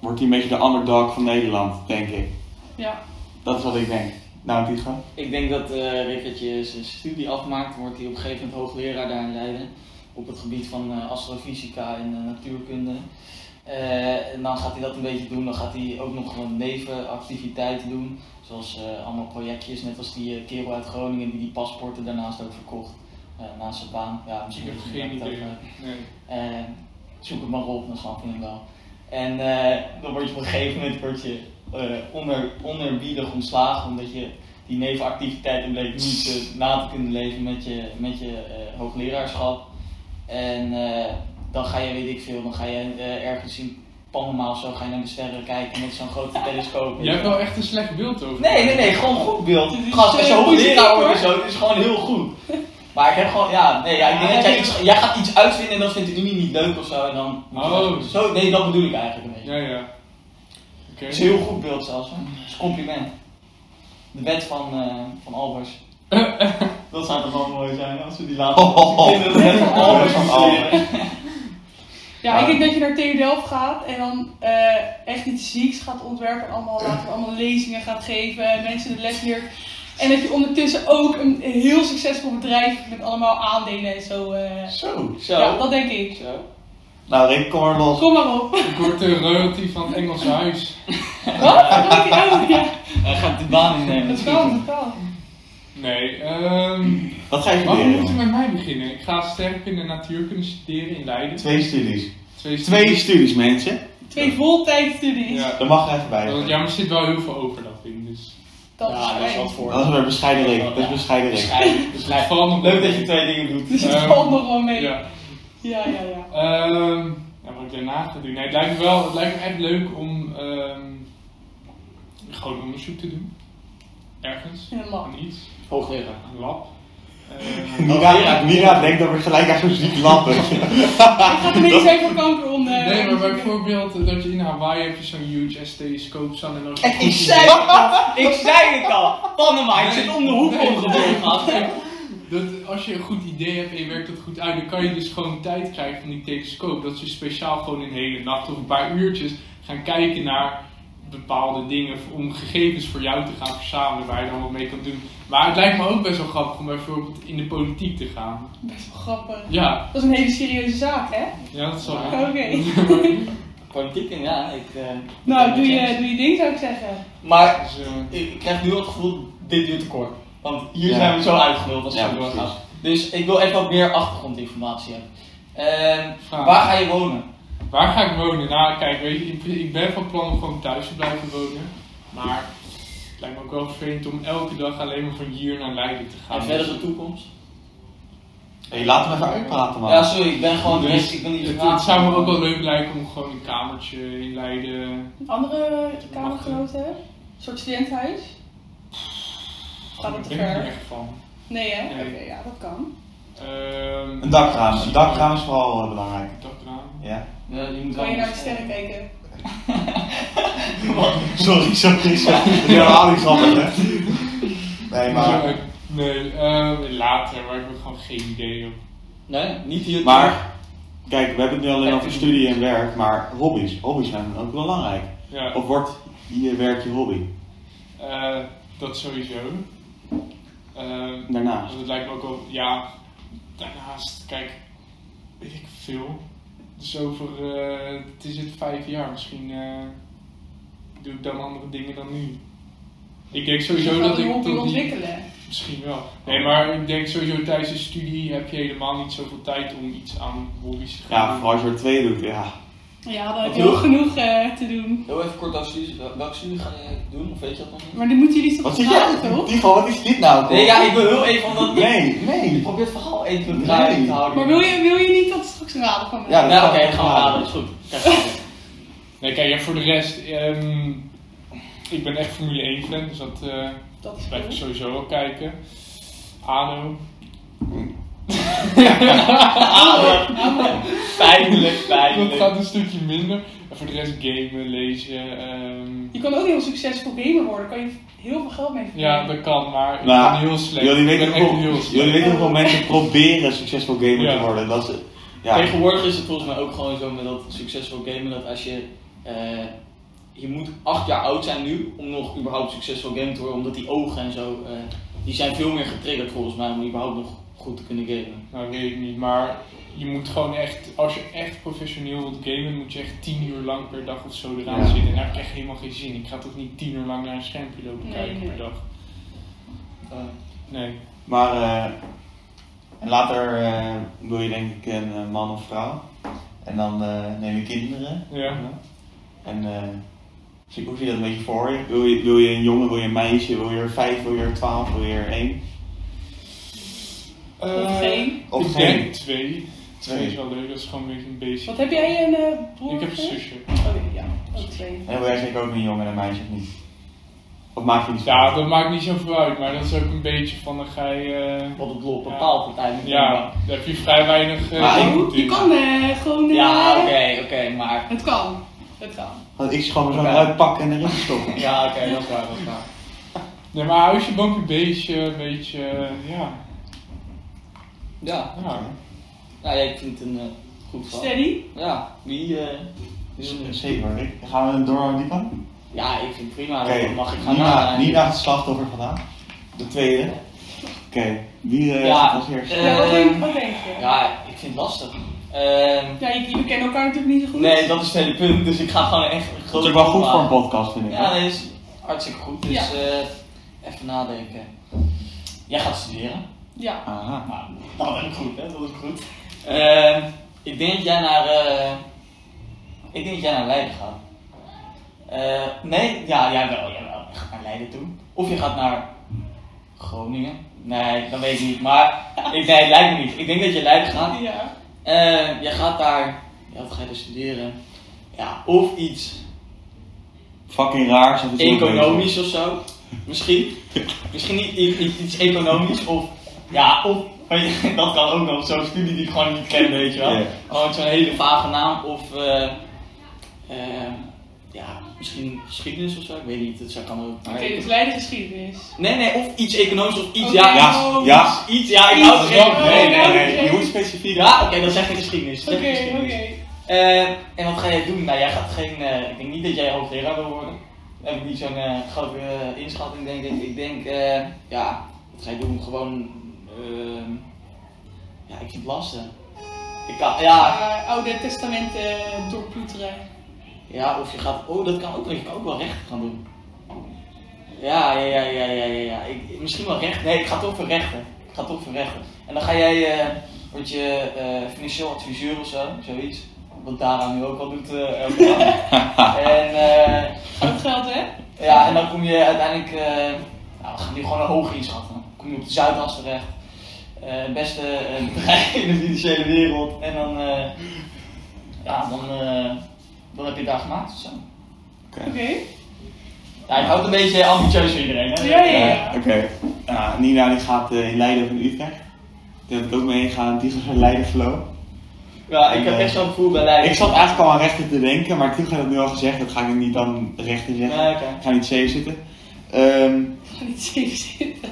A: wordt hij een beetje de underdog van Nederland, denk ik.
C: Ja.
A: Dat is wat ik denk. Nou, Tigo.
B: Ik denk dat eh Rickertje zijn studie afmaakt, wordt hij op een gegeven moment hoogleraar daar in Leiden. Op het gebied van eh, astrofysica en eh, natuurkunde. Eh, en dan gaat hij dat een beetje doen. Dan gaat hij ook nog gewoon nevenactiviteiten doen. Zoals eh, allemaal projectjes, net als die eh, kerel uit Groningen die die paspoorten daarnaast ook verkocht. eh, naast zijn baan. Ja,
D: Ik
B: misschien
D: heb
B: dat hij
D: geen
B: dat ook,
D: idee.
B: eh,
D: Nee.
B: Eh, zoek het maar op, dan snap je hem wel. En eh, dan word je op een gegeven moment word je, eh, onder, onerbiedig ontslagen, omdat je die nevenactiviteiten bleek niet eh, na te kunnen leven met je, met je eh, hoogleraarschap. En eh, dan ga je, weet ik veel, dan ga je eh, ergens in Panama of zo, ga je naar de sterren kijken met zo'n grote telescoop.
D: Jij hebt wel echt een slecht beeld over.
B: Nee, nee, nee, gewoon goed beeld.
D: is
B: Gast, als je
D: een
B: hoogleraar
D: positief,
B: wordt en
D: hoor.
B: zo, het is gewoon heel goed. Maar ik heb gewoon, ja, nee, ja, ik denk
D: Ja,
B: dat jij,
D: ik-
B: iets, jij gaat iets uitvinden en dat vindt de Unie niet leuk of zo. En dan,
D: Oh.
B: zo, nee, dat bedoel ik eigenlijk een beetje.
D: Ja, ja. Oké.
B: Het is een heel goed beeld zelfs, hoor. Het is een compliment. De wet van, eh, van Albers. dat zou toch wel mooi zijn als we die laten.
A: Oh, oh, oh.
B: De wet van Albers
A: Van
B: van
A: Albers.
B: Albers.
C: Ja, ik denk dat je naar TU Delft gaat en dan eh, echt iets zieks gaat ontwerpen. En allemaal, later allemaal lezingen gaat geven en mensen de les leert. En dat je ondertussen ook een heel succesvol bedrijf met allemaal aandelen en zo. eh,
A: Zo.
B: Zo.
C: ja, dat denk ik.
B: Zo.
A: Nou, Rick, kom maar los.
C: Kom maar op. [LAUGHS]
D: Ik word de royalty van het Engelse huis.
C: Wat? Dat denk ik ook, ja.
B: Hij gaat de baan innemen.
C: Dat kan, dat kan.
D: Nee, ehm.
A: Wat ga je
D: Waarom
A: studeren?
D: moet je met mij beginnen? Ik ga sterkkunde en natuurkunde studeren in Leiden.
A: Twee studies. Twee
D: studies.
A: studies, mensen.
C: Twee voltijdstudies.
D: Ja.
A: Daar mag je even bij.
D: Dat- Ja, maar er zit wel heel veel overlap in. Dus.
C: Dat is
B: Ja, dat is
C: fijn.
B: wat voor.
A: Dat is weer bescheiden Rick. Dat is bescheiden Rick.
B: Bescheiden.
D: Dus het valt nog
B: Leuk
D: wel
B: dat je
D: mee.
B: twee dingen doet.
C: Dus het
D: Ehm,
C: valt nog wel mee. Ja,
D: Ja.
C: ja, ja. ja.
D: Ehm, ja, wat ik daarna ga doen. Nee, het lijkt me wel, het lijkt me echt leuk om ehm, gewoon onderzoek te doen. Ergens.
C: In een lab.
D: Aan iets.
B: Hoogleraar.
D: Aan Een lab. Ehm,
A: Mira, Mira denkt dat we gelijk aan zo'n ziek lappen.
C: Ik ga er niet even voor kanker onder.
D: Nee, maar bijvoorbeeld eh, dat je in Hawaii heb je zo'n huge S-telescoop staan en dan...
B: Ik zei het al! Ik zei het al! Panama, ik zit om de hoek omgebogen gast.
D: Dat als je een goed idee hebt en je werkt dat goed uit, dan kan je dus gewoon tijd krijgen van die telescoop. Dat ze speciaal gewoon een hele nacht of een paar uurtjes gaan kijken naar bepaalde dingen om gegevens voor jou te gaan verzamelen waar je dan wat mee kan doen. Maar het lijkt me ook best wel grappig om bijvoorbeeld in de politiek te gaan.
C: Best wel grappig.
D: Ja,
C: Dat is een hele serieuze zaak, hè?
D: ja dat zal
C: Oké.
B: Politiek in, ja. Ik, eh,
C: Nou,
B: ik
C: doe
B: ben
C: je,
B: het eens.
C: doe je ding zou ik zeggen.
B: Maar
D: Dus, eh,
B: ik krijg nu al het gevoel, dit duurt te kort. Want hier
A: Ja.
B: zijn we zo uitgeluld als
A: Ja,
B: het zo doorgaat.
A: precies.
B: Dus ik wil echt wat meer achtergrondinformatie hebben. Ehm,
D: Vraag.
B: waar ga je wonen?
D: Waar ga ik wonen? Nou, kijk, weet je, in pri- ik ben van plan om gewoon thuis te blijven wonen. Maar het lijkt me ook wel vervelend om elke dag alleen maar van hier naar Leiden te gaan. Dus
B: En verder de toekomst?
A: Hey, laat hem even uitpraten, man.
B: Ja, sorry, ik ben gewoon
D: Dus
B: direct, ik ben niet
D: het,
B: gevraagd.
D: het zou me ook wel leuk lijken om gewoon een kamertje in Leiden.
C: Andere kamergenoten? Een soort studentenhuis? Gaat het
D: ik
C: te
D: ben er niet
C: ver?
D: echt van.
C: Nee, hè?
D: Nee.
C: Oké, ja, dat kan.
D: Ehm,
A: Een dakraam. Een dakraam is vooral eh, belangrijk.
D: Een dakraam.
A: Ja.
B: Ja, je moet
C: Kan
B: wel
C: je naar de
D: dus,
B: eens-
D: eh,
C: sterren kijken?
A: Sorry, sorry, sorry. Die herhaal ik grappig, hè? Nee,
D: Maar,
A: maar...
D: eh, nee, ehm, later, maar ik heb gewoon geen idee op.
B: Nee, niet hier.
A: Maar, kijk, we hebben het nu alleen over studie en werk, maar hobby's. Hobby's zijn ook belangrijk.
D: Ja,
A: Of wordt je werk je hobby?
D: eh, dat sowieso. Ehm,
A: Daarnaast.
D: Want het lijkt me ook wel, ja, daarnaast, kijk, weet ik veel. Dus over, eh, het is het vijf jaar, misschien eh, doe ik dan andere dingen dan nu. Ik denk sowieso
C: Gaat
D: dat
C: Dus je
D: ik tot
C: hobby
D: die-
C: ontwikkelen?
D: Misschien wel. Nee, maar ik denk sowieso tijdens de studie heb je helemaal niet zoveel tijd om iets aan hobby's te gaan
A: Ja, vooral als je er twee doet, ja.
C: Ja, dan heb
B: Wat
C: je ook
B: doe-
C: genoeg eh, te doen.
B: Heel even kort over studies. Wel- Welke studie ga je doen? Of weet je dat nog niet?
C: Maar dan moeten jullie
A: Wat
C: toch
A: zit
C: praten,
A: jij?
C: toch?
A: Tycho, wat is dit nou?
B: Nee, ja, ik wil heel even, omdat
A: Nee,
B: ik
A: nee.
B: probeer het verhaal even te draaien
A: Nee.
B: te houden.
C: Maar wil je, wil je niet dat het straks een raden van mij?
A: Ja, dat-
B: Ja, oké, dan gaan we halen, dat is goed. Kijk,
D: Nee, kijk, ja, voor de rest, ehm, ik ben echt Formule 1 fan, dus dat eh,
C: dat is
D: blijf ik
C: cool.
D: sowieso wel kijken. ADO.
B: Adem.
C: Nou,
B: Pijnlijk,
D: Dat
B: pijnlijk.
D: gaat een stukje minder. En voor de rest gamen, lezen. ehm,
C: Je kan ook heel succesvol gamer worden, daar kan je heel veel geld mee verdienen.
D: ja, dat kan, maar ik
A: Nou,
D: ben heel slecht.
A: Jullie
D: ik
A: weten,
D: ben echt
A: hoeveel,
D: heel
A: jullie
D: slecht.
A: weten hoeveel mensen proberen succesvol gamer te
D: Ja.
A: worden. Dat is, ja.
B: Tegenwoordig is het volgens mij ook gewoon zo met dat succesvol gamen dat als je. eh, je moet acht jaar oud zijn nu om nog überhaupt succesvol gamen te worden, omdat die ogen en zo. eh, die zijn veel meer getriggerd volgens mij om überhaupt nog goed te kunnen gamen.
D: Nou, weet ik niet, maar je moet gewoon echt, als je echt professioneel wilt gamen, moet je echt 10 uur lang per dag of zo eraan
A: Ja.
D: zitten. En daar heb ik echt helemaal geen zin. in. Ik ga toch niet 10 uur lang naar een schermpje lopen
C: Nee,
D: kijken
C: nee.
D: per dag.
B: Eh,
D: Nee.
A: Maar eh, en later eh, wil je denk ik een eh, man of vrouw. En dan eh, neem je kinderen.
D: Ja.
A: En eh, zie- hoe zie je dat een beetje voor je? Wil, je? wil je een jongen, wil je een meisje, wil je er vijf, wil je er twaalf, wil je er één?
C: Of
D: Eh,
C: geen?
A: Of
D: ik
A: geen?
D: denk twee. Twee is wel leuk, dat is gewoon een beetje een basic.
C: Wat heb jij een eh broer?
D: Ik heb een
C: gekregen?
D: zusje.
C: Oh ja, ook twee.
A: En wil jij zeker ook een jongen en een meisje of niet? Of maak je iets
D: Ja, dat maakt niet zoveel uit, maar dat is ook een beetje van dan ga je. eh,
B: Wat het lot bepaalt uiteindelijk.
D: ja, daar heb je vrij weinig. eh,
A: Maar ik-
D: invloed
C: Je
D: in.
C: Oh, kan eh, gewoon. eh,
B: Ja, oké, oké, maar.
C: Het kan. Het kan.
A: Want ik gewoon zo
B: Oké.
A: eruit pakken en erin stoppen.
B: Ja, oké, dat is waar, dat is waar.
D: Nee, maar huisje, boompje, beestje, een beetje. eh, ja.
B: Ja,
D: ja.
B: nou, jij vindt een eh, goed verhaal.
C: Steady.
B: Ja, wie. eh, wie wil het?
A: Dus, Zeker. Ik- Gaan we door aan die kant?
B: ja, ik vind het prima,
A: Oké,
B: dat mag ik gaan
A: Nina,
B: na-
A: Nina het slachtoffer vandaan. De tweede. Oké, wie eh,
B: Ja,
A: gaat als eerste?
B: eh,
C: Ja, wat denk, wat denk je? Ja.
B: Ja, ik vind het lastig. Ehm,
C: je- we kennen elkaar natuurlijk niet zo goed.
B: nee, dat is het hele punt, dus ik ga gewoon echt.
A: dat is ook wel goed voor een podcast, vind ik.
B: Ja,
A: hoor.
B: dat is hartstikke goed, dus
C: Ja.
B: eh, even nadenken. Jij gaat studeren.
C: Ja.
A: Aha.
B: Nou, dat ben ik goed, hè? Dat is goed. Ehm, ik denk dat jij naar. eh, ik denk dat jij naar Leiden gaat. Eh, nee, ja, jij wel, jij wel. Je gaat naar Leiden toe. Of je gaat naar Groningen. Nee, dat weet ik niet. Maar ik, nee, lijkt me niet. Ik denk dat je Leiden gaat.
C: Ja.
B: Eh, je gaat daar. Ja, wat ga je daar studeren? Ja, of iets
A: Fucking raar. zo is het ook
B: economisch of zo. Misschien. Misschien niet i- i- iets economisch of. Ja, of. weet je, [LAUGHS] Dat kan ook nog. Zo'n studie die ik gewoon niet ken, weet je wel.
A: Ja.
B: Gewoon zo'n hele vage naam. Of. eh, eh, ja, misschien geschiedenis of zo. Ik weet niet. Dat zou kan ook.
C: Oké, dus Leiden geschiedenis.
B: Nee, nee, of iets economisch of iets.
C: Oké.
B: Ja,
A: Ja, ja.
B: iets. Ja, ik hou
A: Dat
B: het
A: is wel-
B: geen.
A: Nee, nee,
C: Oh,
A: nee.
C: oké.
A: Je moet specifiek.
B: Ja, oké, dan zeg ik geschiedenis.
C: Oké,
B: Zeg ik
C: oké.
B: geschiedenis. Eh, en wat ga jij doen? Nou, jij gaat geen. eh, ik denk niet dat jij hoogleraar wil worden. Daar heb ik niet zo'n eh, grote eh, inschatting, denk ik. Ik denk, eh, ja, wat ga je doen? Gewoon. ehm, ja, ik vind het lastig. Ik kan, ja,
C: Eh, Oude Testament eh, doorploeteren.
B: ja, of je gaat. Oh, dat kan ook. Je kan ook wel recht gaan doen. Ja, ja, ja, ja, ja, ja. ja. Ik, misschien wel recht. Nee, ik ga toch voor rechten. Ik ga toch voor rechten. En dan ga jij. eh word je eh, financieel adviseur of zo, zoiets. Wat Dara nu ook al doet eh, elke dag. En, eh,
C: Groot geld, hè?
B: ja, en dan kom je uiteindelijk, eh, nou, we gaan nu gewoon een hoger inschatten. Dan kom je op de Zuidas terecht. Eh, beste eh, bedrijf in de financiële wereld. En dan, eh, ja, dan, eh, dan heb je het daar gemaakt of zo.
A: Oké.
C: Oké.
B: Ja, ik houdt een beetje ambitieus voor iedereen. Hè?
C: Ja, ja,
A: Ja, Oké. Nou, Nina die gaat eh, in Leiden of in Utrecht. Daar heb ik ook mee gegaan. Die gaat naar Leiden flow.
B: Ja, ik heb echt zo'n gevoel bij Leiden.
A: Ik zat eigenlijk al aan rechten te denken, maar toen had dat nu al gezegd. Dat ga ik niet dan rechten zeggen.
B: Ja, Ah, oké.
A: Ik ga niet zeven zitten. Ehm,
C: Ik ga niet zeker zitten.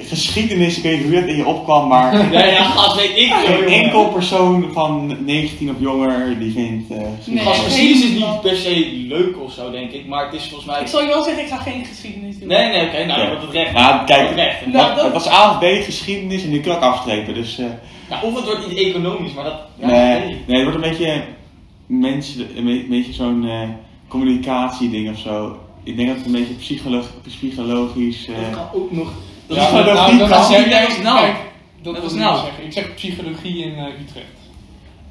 A: geschiedenis, ik weet niet hoe dat in je opkwam,
B: [LAUGHS]
A: maar
B: Nee, ja, gast, weet ik veel,
A: geen
B: jongen.
A: enkel persoon van 19 of jonger die vindt. eh, geschiedenis.
B: Gast,
C: Nee.
B: precies is niet per se leuk of zo, denk ik. Maar het is volgens mij...
C: Ik zal je wel zeggen, ik ga geen geschiedenis doen.
B: Nee, nee, oké, nou, je wordt het recht.
A: Ja, kijk,
B: Het recht.
C: Nou,
A: dat,
C: dat-
A: dat was A of B geschiedenis en nu kan ik afstrepen. Dus eh,
B: Ja, of het wordt niet economisch, maar dat... Ja,
A: nee, nee, het wordt een beetje, mensen, een be- beetje zo'n eh, communicatieding of zo. Ik denk dat het een beetje psycholoog, psychologisch. eh,
B: Dat kan ook nog. Dat
A: Ja,
B: is
A: maar
B: gewoon
A: dat-
B: niet
A: dat
B: kan.
A: is-
B: Kijk, kijk, nou.
D: kijk, dat,
B: Dat
D: wil
B: is
D: ik
B: nou.
D: niet zeggen. Ik zeg psychologie in eh, Utrecht.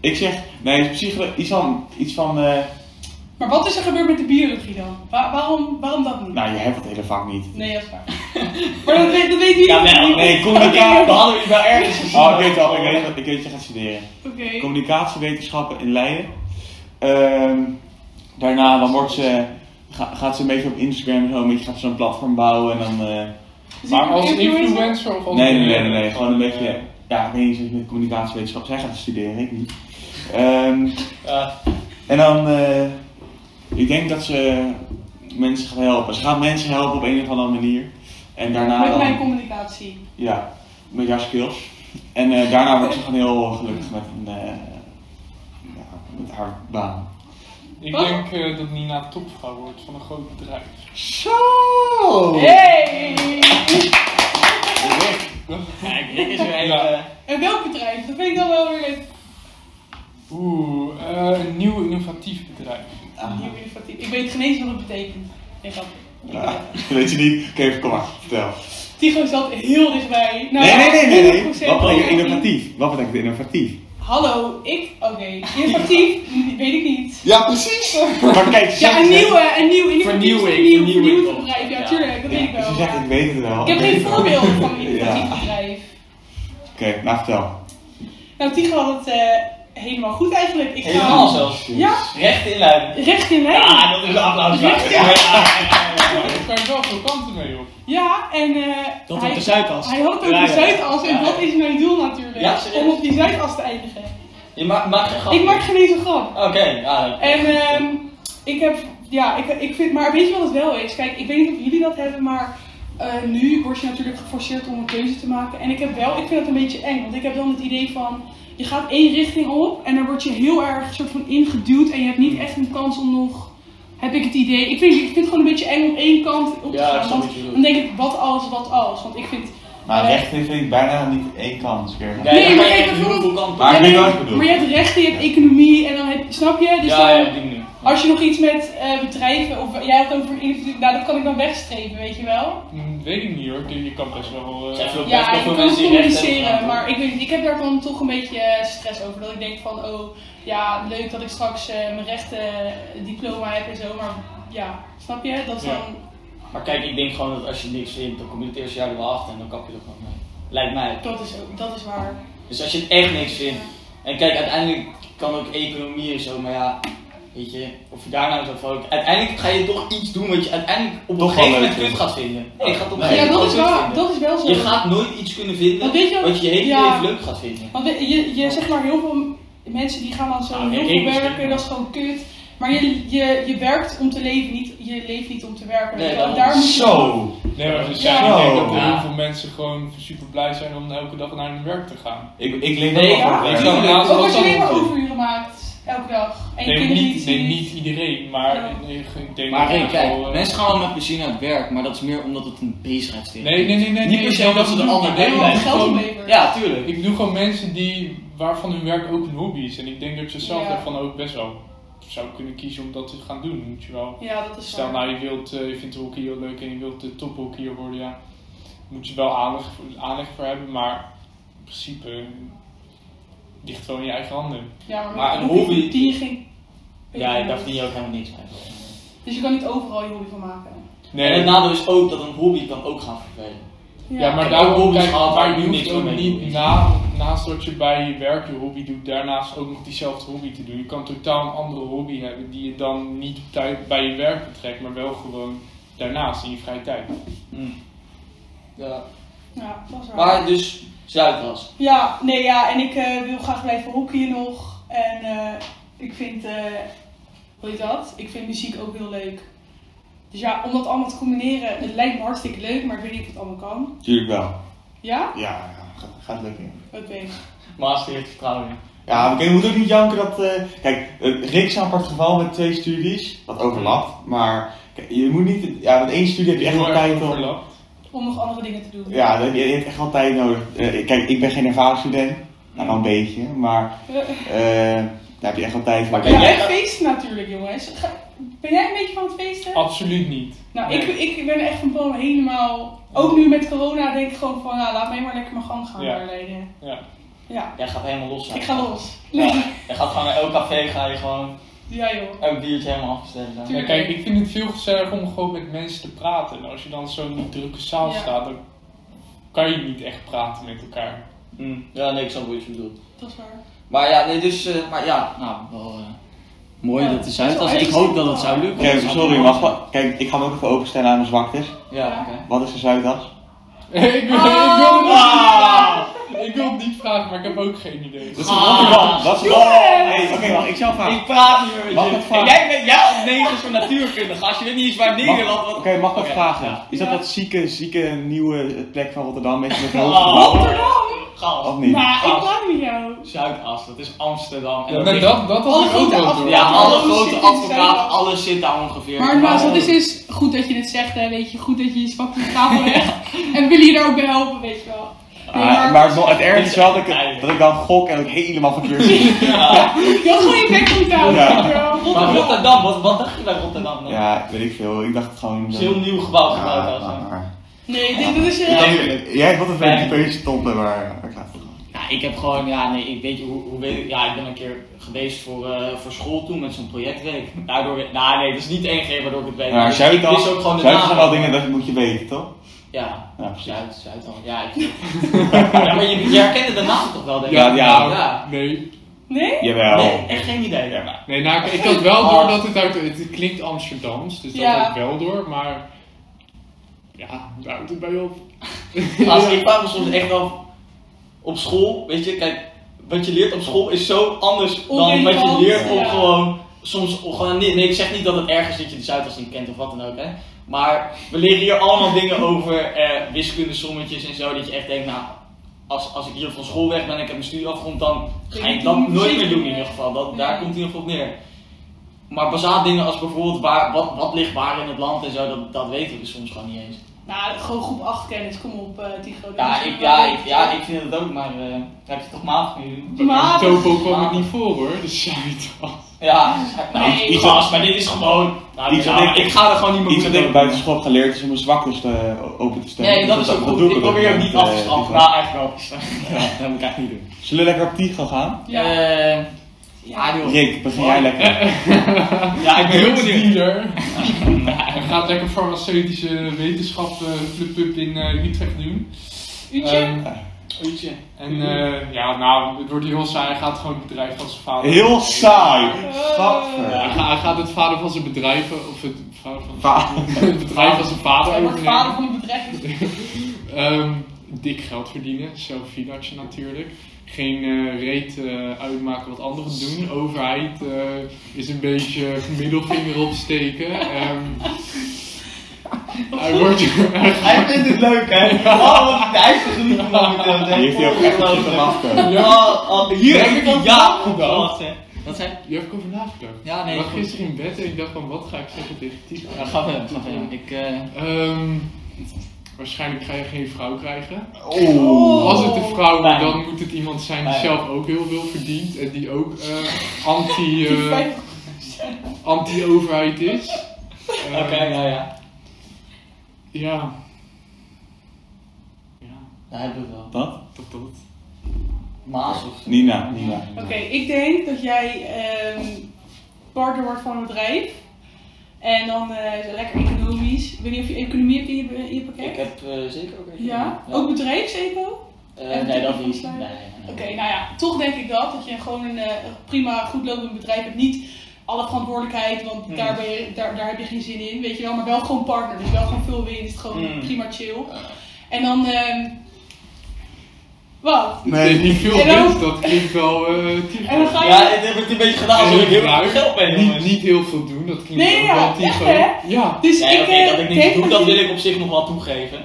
A: ik zeg, nee, psycholo- iets van. Iets van eh,
C: Maar wat is er gebeurd met de biologie dan? Wa- waarom, waarom dat niet?
A: nou, je hebt het hele vak niet.
C: Nee, dat is waar. [LAUGHS] maar dat weet, dat weet jullie
B: Ja,
C: niet.
A: Nee,
B: nee, nee,
A: communicatie.
B: [LAUGHS] We hadden u wel ergens gezien.
A: Oh, ik weet het al, ik weet, ik weet dat je gaat studeren.
C: Oké.
A: communicatiewetenschappen in Leiden. Ehm, daarna dan wordt ze, ga- gaat ze een beetje op Instagram en zo, een beetje gaat ze zo'n platform bouwen en dan. eh,
C: Dus
D: Maar
C: ik-
D: als
C: influencer?
D: influencer of als.
C: Oh,
A: nee, nee, nee, nee, nee, gewoon een
D: eh,
A: beetje. Ja, ik weet niet, met communicatiewetenschap. Zij gaat studeren, ik niet. Ehm,
B: Ja,
A: en dan, eh, ik denk dat ze mensen gaat helpen. Ze gaat mensen helpen op een of andere manier. En daarna
C: Met mijn
A: Nou, dan,
C: communicatie.
A: ja, met jouw skills. En eh, daarna wordt ze gewoon heel gelukkig met, een, eh, ja, met haar baan.
D: Ik denk eh, dat Nina topvrouw wordt van een groot bedrijf.
A: Zo! Oh.
C: Hey!
B: Kijk, dit is weer even.
D: Ja.
C: En welk bedrijf? Dat vind ik dan wel weer leuk.
D: Oeh, eh, een nieuw innovatief bedrijf.
A: Ah,
C: Nieuw innovatief. Ik weet geen eens wat het betekent. Nee, grap. Ik
A: ja.
C: weet het.
A: Weet je niet? Oké, kom maar, vertel.
C: Tycho zat heel dichtbij. Nou,
A: Nee, nee, nee, nee. nee.
C: 100%
A: Wat betekent innovatief? Wat betekent innovatief?
C: Hallo, ik. Oké, innovatief weet ik niet.
A: Ja, precies! [LAUGHS] Maar kijk, ze
C: Ja,
A: zegt-
C: een nieuw, eh, een nieuw innovatief.
B: Vernieuwing,
C: een nieuw,
B: vernieuwing
C: vernieuwd
B: toch?
C: bedrijf. Ja,
B: Ja.
C: tuurlijk, dat weet ik
A: [LAUGHS] Ja, dus
C: wel.
A: ze zegt, ik weet het wel.
C: Ik heb geen
A: weet het wel.
C: voorbeeld van een innovatief bedrijf.
A: nou vertel.
C: Nou, Tigo had het eh, helemaal goed eigenlijk. Ik
B: Helemaal
C: ga
B: zelfs.
C: Ja.
B: Recht inleiden.
C: recht in lijn.
B: Ja, dat is een applaus. waard.
C: Recht,
B: Ja, ja, ja, ja.
D: Nou, Daar kan je wel veel kanten mee op.
C: Ja, en eh,
B: Dat op
C: hij,
B: de Zuidas.
C: hij hoopt op
B: Ja,
C: de
B: ja.
C: Zuidas en
B: Ja.
C: dat is mijn doel natuurlijk.
B: Ja, serieus? Oh.
C: om op die Zuidas te eindigen.
B: Je maakt maakt geen grap.
C: Ik maak geen eens een grap.
B: Oké, ja.
C: En ehm, ik heb, ja, ik, ik vind, maar weet je wat het wel is? Kijk, ik weet niet of jullie dat hebben, maar eh, nu word je natuurlijk geforceerd om een keuze te maken. En ik heb wel, ik vind dat een beetje eng, want ik heb dan het idee van, je gaat één richting op en dan word je heel erg soort van ingeduwd en je hebt
A: Hmm.
C: niet echt een kans om nog, heb ik het idee. Ik vind, ik vind het gewoon een beetje eng op één kant op te
B: Ja, ik
C: gaan,
B: snap
C: want
B: wat je bedoelt.
C: dan denk ik, wat als, wat als? Want ik vind,
A: Maar
C: Eh.
A: rechten vind ik bijna niet één kans meer.
C: Nee, maar
B: je
C: kijk,
B: hebt heel
C: bijvoorbeeld-
B: veel kanten.
A: Maar ik
C: nee,
A: weet wat je bedoelt.
C: maar je hebt rechten, je hebt economie en dan heb, snap je? Dus
B: Ja,
C: dan-
B: ja, op die manier.
C: als je nog iets met eh, bedrijven, of jij had over individu, nou dat kan ik dan wegstrepen, weet je wel?
D: Hm, Weet ik niet hoor, Ik denk, je kan best wel... eh,
B: Zijn veel- best
C: Ja,
B: wel
C: je
B: veel
C: kan het
B: mensen die recht hebben,
C: communiceren,
B: toch?
C: maar ik, weet, niet, ik heb daar dan toch een beetje eh, stress over. Dat ik denk van, oh ja, leuk dat ik straks eh, mijn rechtendiploma heb en zo, maar ja, snap je? Dat is
D: Ja.
C: dan,
B: Maar kijk, ik denk gewoon dat als je niks vindt, dan kom je het eerste jaar er wel achter en dan kap je er gewoon mee. Lijkt mij.
C: dat is, ook- dat is waar.
B: Dus als je echt niks vindt. En kijk, uiteindelijk kan ook economie en zo, maar ja, weet je, of je daar nou zo van ook. Uiteindelijk ga je toch iets doen wat je uiteindelijk op een
A: Toch wel
B: gegeven moment
A: leuk
B: kut
A: vindt.
B: gaat vinden. Nee, je gaat op een
A: Ja,
C: ja,
B: gegeven
C: dat
B: moment
C: is,
B: kut
C: wel,
B: vinden.
C: dat is wel zo.
B: Je gaat nooit iets kunnen vinden
C: Want weet je-
B: wat je je hele
C: ja.
B: leven leuk gaat vinden.
C: Want we- je, je zegt maar heel veel mensen die gaan dan zo
B: Nou,
C: heel
B: ik-
C: veel
B: ik misschien.
C: werken, dat is gewoon kut. Maar je, je, je werkt om te leven, niet, je leeft niet om te werken.
B: Nee,
C: weet je wel.
B: dat-
C: daar moet je-
A: Zo!
D: Nee, maar dus
C: Ja.
D: zijn, ik
B: Oh.
D: denk dat er
A: Ja.
D: heel veel mensen gewoon super blij zijn om elke dag naar hun werk te gaan.
A: Ik, ik leef
B: Nee,
A: ook wel
C: ja.
A: voor het werk.
D: Ik zou-
B: Ja,
C: Ook
D: dat
C: als je
D: zou-
C: alleen maar overuren maakt, elke dag. En je
D: Nee,
C: kunt het niet
D: niet, nee,
C: zien.
D: niet iedereen, maar
C: Ja.
D: ik ik denk
B: Maar
D: dat
B: hey,
D: het wel,
B: kijk,
D: eh,
B: mensen gaan wel met plezier naar het werk, maar dat is meer omdat het een bezigheidstherapie
D: Nee, nee, nee, nee.
B: Niet
D: nee,
B: per
D: ik
B: se
D: denk
B: omdat ze
D: ik
B: de
D: bedoel-
B: ander
D: nee,
B: denken.
D: maar
C: Geld
D: gewoon-
B: is.
C: oplevert.
B: Ja, tuurlijk.
D: Ik bedoel gewoon mensen die, waarvan hun werk ook een hobby is. En ik denk dat je zelf
C: Ja.
D: daarvan ook best wel zou kunnen kiezen om dat te gaan doen, moet je wel.
C: Ja, dat is
D: Stel
C: waar.
D: nou, je, wilt, eh, je vindt hockey heel leuk en je wilt de tophockeyer worden, ja. Moet je wel aanleg, aanleg voor hebben, maar in principe eh, ligt wel in je eigen handen.
C: Ja, maar,
B: Maar
C: met
B: een
C: hockey
B: hobby-
C: verdien je geen...
B: Ja, daar verdien je ook helemaal niks mee.
C: Dus je kan niet overal je hobby van maken.
B: En het nadeel is ook dat een hobby kan ook gaan vervelen.
D: Ja,
B: Ik
D: maar
B: heb ook
D: daarom
B: hobby's
D: kijk,
B: gehad waar
D: maar
B: ik
D: je
B: nu
D: hoeft
B: niks
D: ook
B: mee
D: niet
B: doe.
D: na, naast dat je bij je werk je hobby doet, daarnaast ook nog diezelfde hobby te doen. Je kan totaal een andere hobby hebben die je dan niet op tijd bij je werk betrekt, maar wel gewoon daarnaast in je vrije tijd.
B: Hmm. Ja.
C: Ja, dat is waar.
B: Maar dus, Zuidas.
C: Ja, nee, ja, en ik eh, wil graag blijven hockeyen nog. En eh, ik vind, eh hoe heet dat? Ik vind muziek ook heel leuk. Dus ja, om dat allemaal te combineren, het lijkt me hartstikke leuk, maar ik weet niet of het allemaal kan.
A: Tuurlijk wel.
C: Ja?
A: Ja, ja, gaat, gaat lukken.
C: Oké.
B: Master heeft vertrouwen in.
A: Ja, we kunnen- we moeten ook niet janken dat... eh, kijk, eh, Rick is een apart geval met twee studies. Dat overlapt. Maar kijk, je moet niet... Ja, met één studie heb je echt wel
D: Heel erg
A: tijd om...
D: overlapt.
C: Om nog andere dingen te doen.
A: Ja, je je hebt echt wel tijd nodig. Eh, kijk, ik ben geen ervaren student. Nou, wel een beetje. Maar eh, daar heb je echt wel tijd voor.
B: Maar
C: Ja,
B: kijk,
C: en
B: jij-
C: feesten natuurlijk, jongens. Ga- ben jij een beetje van het feesten?
D: Absoluut niet.
C: Nou,
D: Oh, Nee.
C: ik, ik ben echt van plan helemaal... Ook nu met corona denk ik gewoon van, nou, laat mij maar lekker mijn gang gaan
D: Ja.
C: doorleiden.
D: Ja.
C: Ja,
B: Jij gaat helemaal los. zijn.
C: ik ga los.
B: Ja, jij gaat gewoon naar elk café, ga je gewoon
C: Ja, joh.
B: elk biertje helemaal afbestellen. zo.
C: Tuurlijk.
D: Ja, kijk, ik vind het veel gezelliger om gewoon met mensen te praten. En als je dan zo in die drukke zaal
C: Ja.
D: staat, dan kan je niet echt praten met elkaar. [LAUGHS]
B: Hm. Ja, nee, ik snap wat je bedoelt.
C: Dat is waar.
B: Maar ja, nee, dus, eh, maar ja, nou, wel eh, mooi
C: Ja,
B: dat de
C: het is
B: Zuidas.
C: wel
B: Ik
C: echt
B: hoop dat het
C: simpel.
B: zou lukken.
A: Kijk,
B: Dat zou
A: sorry,
B: wel-
A: wacht. Kijk, ik ga me ook even openstellen aan mijn zwaktes.
B: Ja, oké.
A: Wat is de Zuidas?
D: ik, wil, ik, wil het niet vragen. ik wil het niet vragen, maar ik heb ook geen idee.
A: Dat is
B: Ah.
A: Rotterdam. Dat is...
C: Jongens!
A: Hey, Oké, wacht. Ik zal vragen.
B: Ik praat niet meer met
A: Mag
B: je.
A: ik vragen?
B: Jij bent jij als Nederlands voor natuurkundige. Als je weet niet eens waar
A: Mag-
B: Nederland
A: Oké,
B: wat.
A: mag ik wat
B: Oké,
A: vragen?
B: ja.
A: Is dat
C: Ja.
A: dat zieke, zieke nieuwe plek van Rotterdam? Mensen met
B: Oh.
A: hoofd?
C: Rotterdam!
B: Chaos.
A: Of niet? Ah,
C: Nou, ik
B: Gast.
C: praat met jou.
B: Zuidas, dat is Amsterdam. En
D: Ja,
B: dat
D: maar
B: ligt-
D: dat, dat
C: Alle
D: had ik ook
C: grote
D: wel
C: af-
D: door.
B: ja, alle
C: Alles
B: grote
C: zit in
B: advocaten,
C: Zuidas.
B: alles zit daar ongeveer.
E: Maar Maas,
B: Waarom?
E: dat is dus goed dat je het zegt, hè, weet je. Goed dat je je spakt op tafel
C: [LAUGHS]
E: legt. en willen je daar ook bij helpen, weet je wel. Nee,
A: Ah,
E: maar-
A: maar het, nog- het ergste is wel dat ik, dat ik dan gok en dat ik helemaal verkeerd zie.
C: Je had gewoon je bek moeten houden,
A: Ja.
C: weet je wel.
B: Maar
C: Rotterdam.
B: Rotterdam, wat, wat dacht je bij Rotterdam dan?
A: Ja, weet ik veel. Ik dacht gewoon... eh, Ah,
B: Het
A: zo-
B: is een heel nieuw gebouw
A: Ja,
B: gebouwd.
A: maar-
B: als-
A: maar-
C: Nee, dit, dit is... eh,
A: Ik dacht, Jij hebt wat een
B: Nee.
A: beetje peutje stoppen, maar ik laat het wel.
B: Nou, ik heb gewoon, ja, nee, ik weet je, hoe, hoe weet ik, ja, ik ben een keer geweest voor, eh, voor school toen met zo'n projectweek. Daardoor, nou nee, dat is niet één keer waardoor ik het weet.
A: Maar
B: Dus
A: Zuidas,
B: ik wist ook gewoon de
A: Zuidas
B: naam.
A: zijn wel dingen dat moet je weten, toch?
B: Ja,
A: Ja, precies.
B: Zuid, Zuidhal. Ja, ik [LAUGHS] ja, maar je, je herkende de naam toch wel, denk ik?
A: Ja, ja.
B: ja.
D: Nee.
C: Nee?
A: Jawel.
B: Nee, echt geen idee.
A: Ja, maar-
D: Nee, nou, ik, ik had wel door dat het uit... Het klinkt Amsterdams, dus dat
C: Ja.
D: had ik wel door, maar... Ja, daar houdt het bij op.
B: [LAUGHS]
D: [LAUGHS]
B: Als, ik kwam me soms echt wel op school, weet je, kijk, wat je leert op school is zo anders dan wat je
C: Onrelevant,
B: leert op
C: ja.
B: gewoon, soms, op gewoon, nee, nee, ik zeg niet dat het erg is dat je de Zuidas niet kent of wat dan ook, hè. Maar we leren hier allemaal dingen over eh, wiskunde, sommetjes en zo, dat je echt denkt, nou, als, als ik hier van school weg ben en ik heb mijn studie afgerond, dan ga ik dat nooit meer doen in ieder geval. Dat, daar
F: Ja.
B: komt het in ieder geval op neer. Maar bazaal dingen als bijvoorbeeld waar, wat, wat ligt waar in het land en zo, dat, dat weten we soms gewoon niet eens.
C: Nou, gewoon groep 8 kennis, kom op, eh Tycho.
B: Ja, ik, ja, ik, ja, ik vind het ook, maar eh, daar heb je toch maat voor jullie?
C: Maar-
D: Topo kwam het niet voor hoor, de Zuidas.
B: Ja, nou,
C: Nee.
B: die gast, maar dit is gewoon. Nou,
A: Iets
B: ja,
A: wat
B: maar
A: ik-
B: ik ga er gewoon niet meer
A: Iets wat ik
B: moeilijk
A: buiten
B: over
A: school heb geleerd is om mijn zwaktes eh, open te
B: doen.
A: stellen.
B: Nee, dat is ook goed. Ik probeer ook niet af te stappen.
A: gaan.
B: Nou, echt wel. Ja, dat moet ik echt niet doen.
A: Zullen we lekker op die gaan gaan?
C: Ja.
B: Eh, ja, joh.
A: Rick, begin jij lekker.
B: Ja, ik ben heel benieuwd.
D: [LAUGHS] dealer. Hij gaat lekker farmaceutische wetenschappen club in eh, Utrecht doen.
C: Uurtje?
B: eh,
D: Ehm,
B: Uurtje.
D: en eh, ja, nou, het wordt heel saai. Hij gaat gewoon het bedrijf van zijn vader.
A: Heel saai.
D: Ja, hij,
A: Gadver.
D: ga- hij gaat het vader van zijn bedrijf, of het, vader van,
A: Va-
D: [LAUGHS] het bedrijf van zijn vader
C: Hij wordt vader
D: overnemen.
C: van het bedrijf.
D: Ehm, dik geld verdienen, zelffinancie natuurlijk. Geen eh, reet eh, uitmaken wat anderen doen. Overheid eh, is een beetje middelvinger opsteken. Ehm, hij wordt... [LAUGHS]
B: Hij vindt het leuk, hè? [LAUGHS] Oh, wat een [LAUGHS] ijzergeniet momenteel.
A: Die heeft hij ook echt op zitten wachten.
B: Oh, oh, hier
D: Denk
B: heb ik
D: ik
B: een ja op gewacht, hè. Wat zei
D: Je hebt over nagedacht.
B: Ja, nee,
D: Ik lag
B: goed.
D: gisteren in bed en ik dacht van, wat ga ik zeggen tegen Tico?
B: Ja, ga verder, ga verder. Ik, eh,
D: Ehm, waarschijnlijk ga je geen vrouw krijgen.
A: Oeh.
D: Als het een vrouw wordt,
B: Pijn.
D: dan moet het iemand zijn die
B: Pijn.
D: zelf ook heel veel verdient. En die ook eh, anti, eh, anti-overheid is.
B: Oké,
D: Ehm,
B: ja, ja.
D: Ja. Ja,
B: Ja, hij doet het wel.
A: Wat?
D: tot tot.
B: Maas of zo.
A: Nina, Nina.
C: Oké, ik denk dat jij ehm, partner wordt van een bedrijf. En dan eh, lekker economisch. Ik weet niet of je economie hebt in je, in je pakket.
B: Ik heb eh, zeker ook even.
C: Ja? Ook bedrijfseco?
B: Eh,
C: en
B: nee, dat
C: technisch
B: niet. Nee,
C: zijn?
B: nee, nee.
C: Oké, nou ja, toch denk ik dat. Dat je gewoon een eh, prima, goed lopend bedrijf hebt. Niet alle verantwoordelijkheid, want
B: Hmm.
C: daar, ben je, daar, daar heb je geen zin in. Weet je wel, maar wel gewoon partner. Dus wel gewoon veel winst. Gewoon
B: Hmm.
C: prima chill. En dan. ehm, wat?
D: Nee,
A: Nee.
D: niet veel
C: En dan-
D: winst, dat klinkt wel eh Tico.
C: En dan ga je.
B: Ja, het heeft een beetje gedaan alsof ik heel
D: Gebruik.
B: veel geld ben,
D: niet,
B: jongens.
D: niet heel veel doen, dat klinkt
C: Nee,
D: ook
C: ja,
D: wel
C: echt,
D: Tico.
C: hè?
D: Ja,
C: Dus
B: Nee,
C: ik
B: oké,
C: eh,
B: dat ik niks
C: denk
B: doe, dat
C: je-
B: wil ik op zich nog wel toegeven.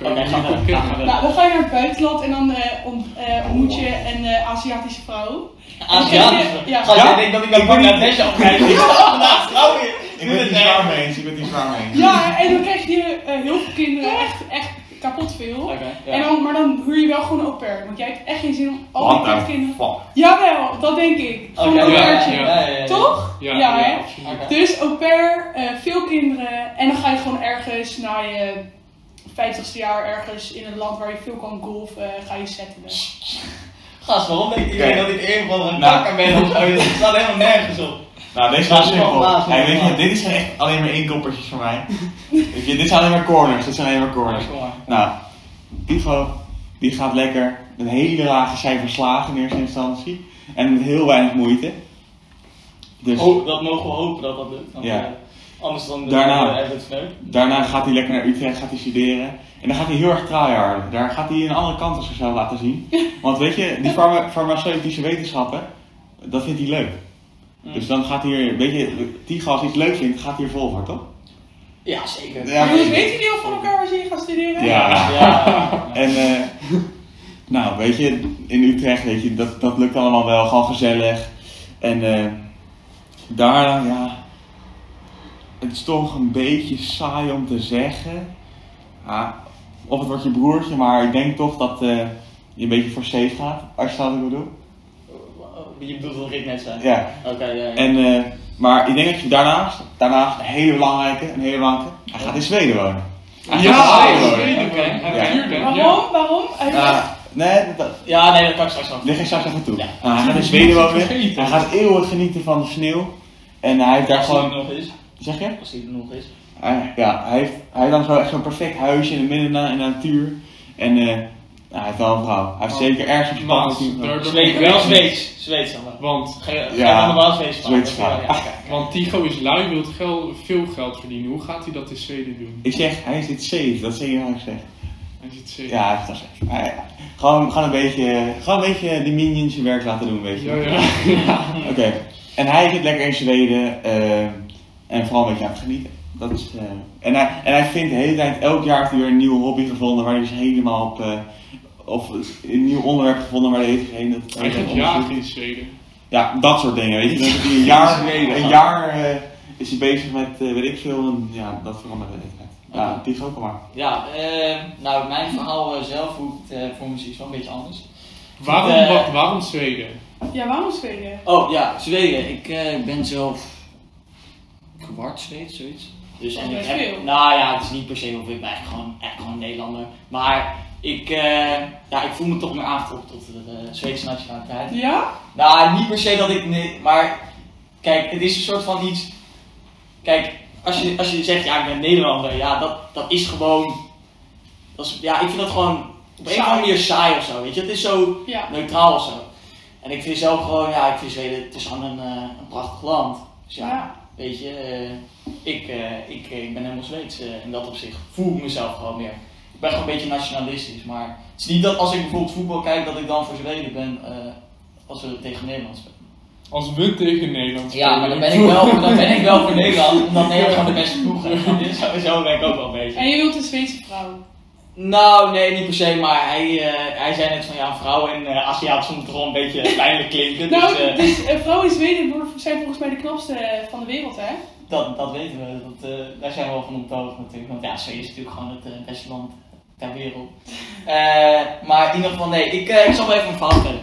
D: dat
B: Oké,
D: kan je
B: ga
D: niet
B: verder. Ga
D: ontkennen.
C: Nou,
B: verder.
C: dan ga je naar het buitenland en dan eh, ont- eh, ontmoet je een eh, Aziatische vrouw.
B: Oh. Aziatische.
C: Ja.
B: Ja. Gast,
A: Ja?
B: jij denkt dat ik naar
A: Ik ben
B: Bangladesh
C: [LAUGHS]
B: afkijk. Ik sta vandaag Oh, nou, trouw hier.
A: Ik ben het niet zwaar mee eens, ik ben het niet zwaar mee eens.
C: Ja, en dan krijg je eh, heel veel kinderen, echt, echt kapot veel.
B: Oké,
C: En
B: ja.
C: dan, maar dan huur je wel gewoon een au pair, want jij hebt echt geen zin om al
A: What the
C: die kinderen...
A: fuck?
C: Jawel, dat denk ik. Gewoon
B: Oké,
C: een au
B: ja,
C: pairtje.
B: ja, ja, ja, ja.
C: Toch?
D: Ja,
C: Ja,
D: ja,
C: hè?
D: absoluut.
B: Oké.
C: Dus au pair, eh, veel kinderen en dan ga je gewoon ergens na je 50ste jaar ergens in een land waar je veel kan golfen, ga je settelen.
B: Gast, waarom denkt iedereen
A: Oké.
B: dat ik een van een
A: Nou.
B: kakker ben of zo? Het staat helemaal nergens op.
A: Nou, deze was
B: Ja,
A: simpel.
B: ja, ja.
A: Hey, weet je, dit is geen echt alleen maar inkoppertjes voor mij. Weet je, dit zijn alleen maar corners. Dit zijn alleen maar corners.
B: Kom maar.
A: Nou, Diego, die gaat lekker een hele lage cijfer slagen in eerste instantie. En met heel weinig moeite. Dus
B: Oh, dat mogen we hopen dat dat lukt. want,
A: Ja.
B: eh, Anders dan
A: Daarna.
B: eh, hebben we het sneu.
A: daarna gaat hij lekker naar Utrecht, gaat hij studeren. En dan gaat hij heel erg tryharden. Daar gaat hij een andere kant van zichzelf laten zien. Want weet je, die farma- farmaceutische wetenschappen, dat vindt hij leuk.
B: Mm.
A: Dus dan gaat hij hier, weet je, Tigo als hij iets leuk vindt, gaat hij er vol voor, toch?
B: Ja, zeker.
A: Ja.
C: Maar Jongens, weten jullie al van elkaar waar ze in gaan studeren?
A: Ja.
B: Ja.
A: En eh, nou, weet je, in Utrecht, weet je, dat, dat lukt allemaal wel, gewoon gezellig. En eh, daarna, ja, het is toch een beetje saai om te zeggen. Ja, of het wordt je broertje, maar ik denk toch dat eh, je een beetje voor safe gaat, als je dat wat ik bedoel.
B: Je bedoelt wat ik net zei.
A: Ja.
B: Oké, ja, ja.
A: En, eh, maar ik denk dat je daarnaast, daarnaast een hele belangrijke, een hele belangrijke, hij gaat in Zweden wonen.
D: Ja,
A: Ja,
D: ja,
A: hoor.
D: Zweden,
B: Oké.
D: man.
A: Ja.
D: Natuurlijk,
C: Waarom?
D: ja.
C: Waarom? Hij-
A: Ja, Ah, nee, dat,
B: Ja, nee, dat kan ik straks nog.
A: Leg ik straks even toe.
B: Ja.
A: Nou, hij gaat in
D: Natuurlijk,
A: Zweden
D: moet je
A: wonen.
D: vergeten.
A: Hij gaat eeuwig genieten van de sneeuw. En hij heeft daar
B: Als hij er
A: gewoon.
B: nog is.
A: Zeg je?
B: Als hij er nog is.
A: Hij, ja, hij heeft, hij heeft dan zo echt zo'n perfect huisje in het midden na- in de natuur. En eh, nou, hij heeft wel een vrouw. Hij heeft
D: Oh.
A: zeker ergens op
D: Maar
A: Spaans gezien.
D: daar-
B: Zweeds, wel Zweeds. Zweeds dan wel.
D: Want,
B: Ga je- ga je
A: Ja,
B: allemaal Zweeds praten?
A: Zweeds
B: Ja,
A: praten.
B: ja, ja.
D: want Tigo is lui, wil geld, veel geld verdienen. Hoe gaat hij dat in Zweden doen?
A: Ik zeg, hij zit safe, dat zeg je eigenlijk zeg.
D: Hij zit zeker.
A: Ja, hij is dat safe. Maar ja, gewoon, gewoon, een beetje, gewoon een beetje de minions je werk laten doen, weet je.
D: Ja, ja.
A: Oké. En hij zit lekker in Zweden eh, en vooral een beetje aan het genieten. Dat is, eh, en, hij, en hij vindt de hele tijd, elk jaar heeft hij weer een nieuwe hobby gevonden waar hij dus helemaal op. eh, of een nieuw onderwerp gevonden waar hij heeft geen. Dat,
D: Hij gaat jagen in Zweden.
A: Ja, dat soort dingen, weet je. Dan zit
B: [LAUGHS]
A: hij een jaar,
B: Zweden.
A: een jaar eh, is hij bezig met, eh, weet ik veel, en ja, dat verandert de hele tijd. Ja, die is ook al maar.
B: Ja, eh, nou, mijn verhaal eh, zelf, hoe het eh, voor muziek is wel een beetje anders.
D: Waarom,
B: Eh.
D: wa- waarom Zweden?
G: Ja, waarom Zweden?
B: Oh ja, Zweden. Ik eh, ben zelf kwart Zweeds, zoiets. Dus
G: Dat
B: en
G: is
B: ik
G: best
B: heb,
G: veel.
B: nou ja, het is niet per se of ik ben eigenlijk gewoon, echt gewoon Nederlander. Maar ik, eh, ja, ik voel me toch meer aangetrokken tot de eh, Zweedse nationaliteit.
G: Ja?
B: Nou, niet per se dat ik. Nee, maar kijk, het is een soort van iets. Kijk, als je, als je zegt, ja, ik ben Nederlander, ja, dat, dat is gewoon. Dat is, ja, ik vind dat gewoon op een of andere manier saai of zo. Weet je, het is zo
G: Ja.
B: neutraal of zo. En ik vind zelf gewoon, ja, ik vind Zweden, het is gewoon een, eh, een prachtig land. Dus ja,
G: Ja.
B: weet je, eh, ik, eh, ik, eh, ik ben helemaal Zweeds eh, in dat opzicht. Voel ik mezelf gewoon meer. Ik ben gewoon een beetje nationalistisch, maar het is niet dat als ik bijvoorbeeld voetbal kijk dat ik dan voor Zweden ben eh, als we tegen Nederland spelen.
D: Als we tegen Nederland
B: Ja, maar dan ben
D: spelen.
B: ik wel, dan ben ik wel voor Nederland, omdat Nederland gewoon de beste ploeg [LAUGHS] is. Zo, zo ben ik ook wel bezig.
G: En je wilt een Zweedse vrouw.
B: Nou, nee, niet per se, maar hij, eh, hij zei net van ja, vrouwen en eh Aziat vond het gewoon een beetje pijnlijk klinken. Dus
G: Nou,
B: eh,
G: dus eh, vrouwen in Zweden worden- zijn volgens mij de knapste eh, van de wereld, hè?
B: dat, dat weten we, dat, eh, daar zijn we wel van op de hoogte natuurlijk. Want ja, Zweden is natuurlijk gewoon het eh, beste land ter wereld. Eh, maar in ieder geval, nee, ik, eh, ik zal wel even een verhaal vertellen.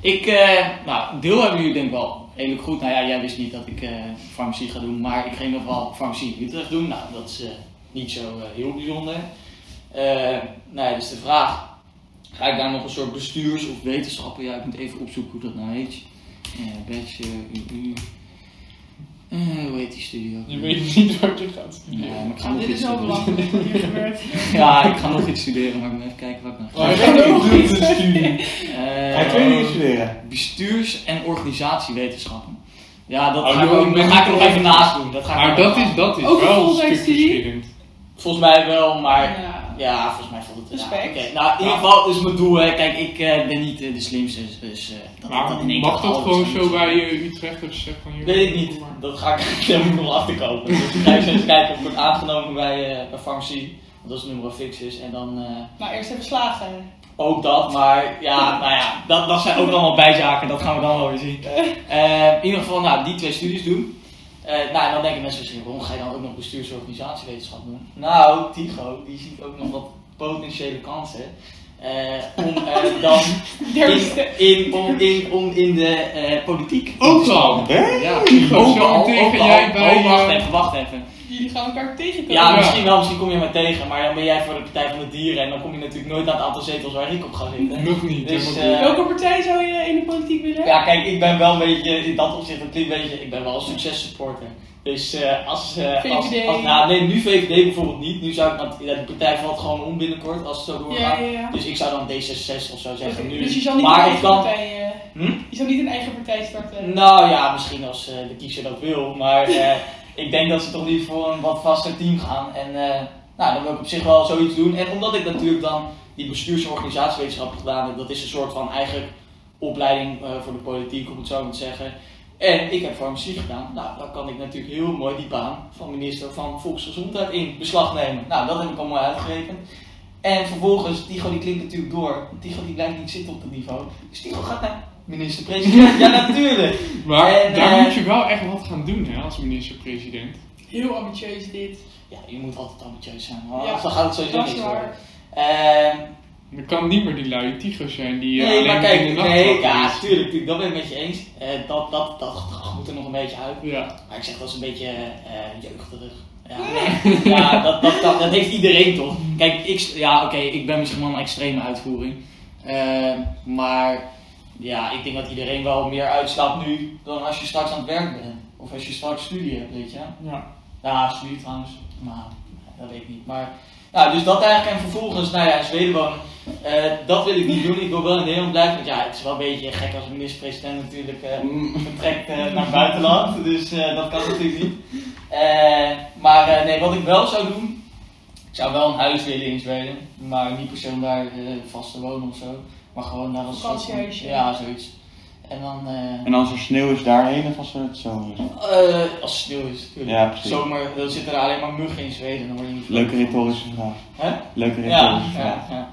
B: Ik, eh, nou, deel hebben jullie denk ik wel redelijk goed. Nou ja, jij wist niet dat ik eh, farmacie ga doen, maar ik ging nog wel farmacie in Utrecht doen. Nou, dat is eh, niet zo eh, heel bijzonder. Eh nou ja, dus de vraag, ga ik daar nog een soort bestuurs- of wetenschappen? Ja, ik moet even opzoeken hoe dat nou heet. Eh bachelor, UU. Eh, hoe heet die studio?
D: Je weet niet wat je gaat
B: Ja,
D: studeren.
B: maar
C: Ah,
B: ik ga
C: Oh,
G: Nou,
B: nog
G: dit
B: iets
G: is wel
B: studeren.
G: belangrijk wat hier gebeurt.
B: [LAUGHS] Ja, ik ga nog iets studeren, maar ik moet even kijken wat ik nog
D: Maar
B: ga.
D: hij gaat ook doen te studeren.
A: Hij
B: Eh,
A: heeft twee dingen studeren.
B: bestuurs- en organisatiewetenschappen. Ja, dat
D: Oh,
B: ga ik,
D: joh,
B: ook,
D: ik
B: dat
D: ben
B: ga ik er
D: niet
B: nog even
D: echt-
B: naast doen. Dat ga ik
D: Maar
B: er nog
D: dat
B: even
D: is, dat is
G: Ook een
D: wel een stuk
G: volksstudie?
D: verschillend.
B: naast- Volgens mij wel, maar...
G: Ja.
B: Ja, volgens mij valt het... ja,
G: Respect.
B: oké. Nou, in ieder geval is mijn doel, hè. Kijk, ik eh, ben niet eh, de slimste, dus... dus eh, dat ik dat
D: Maar
B: in één
D: mag
B: keer
D: dat
B: alles
D: gewoon
B: kan
D: zo
B: doen.
D: bij eh, Utrecht dat je zegt van... joh,
B: Weet ik niet.
D: doe maar.
B: Dat ga ik daar moet ik nog wel achterkomen. Dus ik ga eens kijken of ik word aangenomen bij, eh bij farmacie. Want dat is nummer fix is. En dan eh,
G: Nou, eerst even slagen.
B: ook dat. Maar ja, nou ja, dat, dat zijn ook allemaal bijzaken. Dat gaan we dan wel weer zien. Eh, in ieder geval, nou, die twee studies doen. Eh, nou, en dan denken mensen misschien, waarom ga je dan ook nog bestuursorganisatiewetenschap doen? Nou, Tigo, die ziet ook nog wat potentiële kansen. eh, om
D: [LAUGHS]
B: eh, dan in, in, om, in, om in de eh, politiek
D: Ook al!
A: Hè?
B: ja,
D: Tigo,
B: ook
D: zo
B: al,
D: tegen
B: ook al.
D: jij bij,
B: Oh, wacht
D: eh,
B: even, wacht even.
G: Jullie gaan elkaar tegenkomen.
B: Ja,
D: Ja.
B: misschien wel, misschien kom je maar tegen, maar dan ben jij voor de Partij van de Dieren en dan kom je natuurlijk nooit aan het aantal zetels waar ik op ga zitten.
D: Nog niet.
B: Dus,
D: helemaal
B: eh,
D: niet.
G: Welke partij zou je in de politiek willen?
B: Ja, kijk, ik ben wel een beetje, in dat opzicht een klein beetje, ik ben wel een successupporter. Dus eh, als, eh,
G: VVD.
B: als, als, nou nee, nu VVD bijvoorbeeld niet, nu zou ik, want ja, de partij valt gewoon om binnenkort als het zo
G: ja,
B: doorgaat.
G: ja. ja.
B: Dus ik zou dan D66 of zo zeggen
G: Oké,
B: nu.
G: Dus je zal niet een
B: maar
G: eigen
B: ik kan,
G: partij... eh,
B: Hm?
G: Je zal niet een eigen partij starten.
B: Nou ja, misschien als eh, de kiezer dat wil, maar eh, ik denk dat ze toch liever voor een wat vaster team gaan. En eh, nou, dan wil ik op zich wel zoiets doen. En omdat ik natuurlijk dan die bestuurs- en organisatiewetenschappen gedaan heb, dat is een soort van eigen opleiding eh, voor de politiek, om het zo maar te zeggen. En ik heb farmacie gedaan, nou dan kan ik natuurlijk heel mooi die baan van minister van Volksgezondheid in beslag nemen. Nou, dat heb ik al mooi uitgerekend. En vervolgens, Tigo die klinkt natuurlijk door. Tigo die blijft niet zitten op het niveau. Dus Tigo gaat naar minister-president. Ja, natuurlijk.
D: [LAUGHS] Maar
B: en,
D: daar
B: eh,
D: moet je wel echt wat gaan doen hè, als minister-president.
G: Heel ambitieus dit.
B: Ja, je moet altijd ambitieus zijn, want
G: Ja,
B: anders dan gaat het sowieso
G: Dat is
B: niet worden.
G: waar.
B: Ehm,
D: Er kan niet meer die luie tigers zijn die eh,
B: nee,
D: alleen
B: maar
D: maar in
B: kijk,
D: de nacht
B: nee,
D: wakker
B: ja,
D: is.
B: tuurlijk, tuurlijk, dat ben ik met je eens. Eh, dat, dat, dat gedrag moet er nog een beetje uit.
D: Ja.
B: Maar ik zeg dat is een beetje eh jeugdig. Ja, [LAUGHS] ja dat, dat, dat, dat heeft iedereen toch? Kijk, ik, ja, oké, ik ben misschien wel een extreme uitvoering. Ehm, maar ja, ik denk dat iedereen wel meer uitstaat nu dan als je straks aan het werk bent. Of als je straks studie hebt, weet je.
D: Ja.
B: Ja, absoluut trouwens. Maar dat weet ik niet. Maar, nou, dus dat eigenlijk. En vervolgens, nou ja, in Zweden wonen. Eh, dat wil ik niet doen. Ik wil wel in Nederland blijven. Want ja, het is wel een beetje gek als een minister-president natuurlijk eh, vertrekt eh, naar het buitenland. Dus eh, dat kan natuurlijk niet. Eh, maar eh, nee, wat ik wel zou doen. Ik zou wel een huis willen in Zweden. Maar niet per se om daar eh, vast te wonen of zo. Maar gewoon naar een soort van-
C: Vakantiehuisje.
B: Ja, zoiets. En dan. eh,
A: En als er sneeuw is daarheen of als er het zo is.
B: eh, als het sneeuw is, natuurlijk.
A: Ja, precies.
B: Zomer, dan zitten er alleen maar muggen in Zweden. Dan word je niet
A: Leuke retorische vraag.
B: Hè?
A: Leuke
B: Ja,
A: retorische
B: ja,
A: vraag.
B: ja.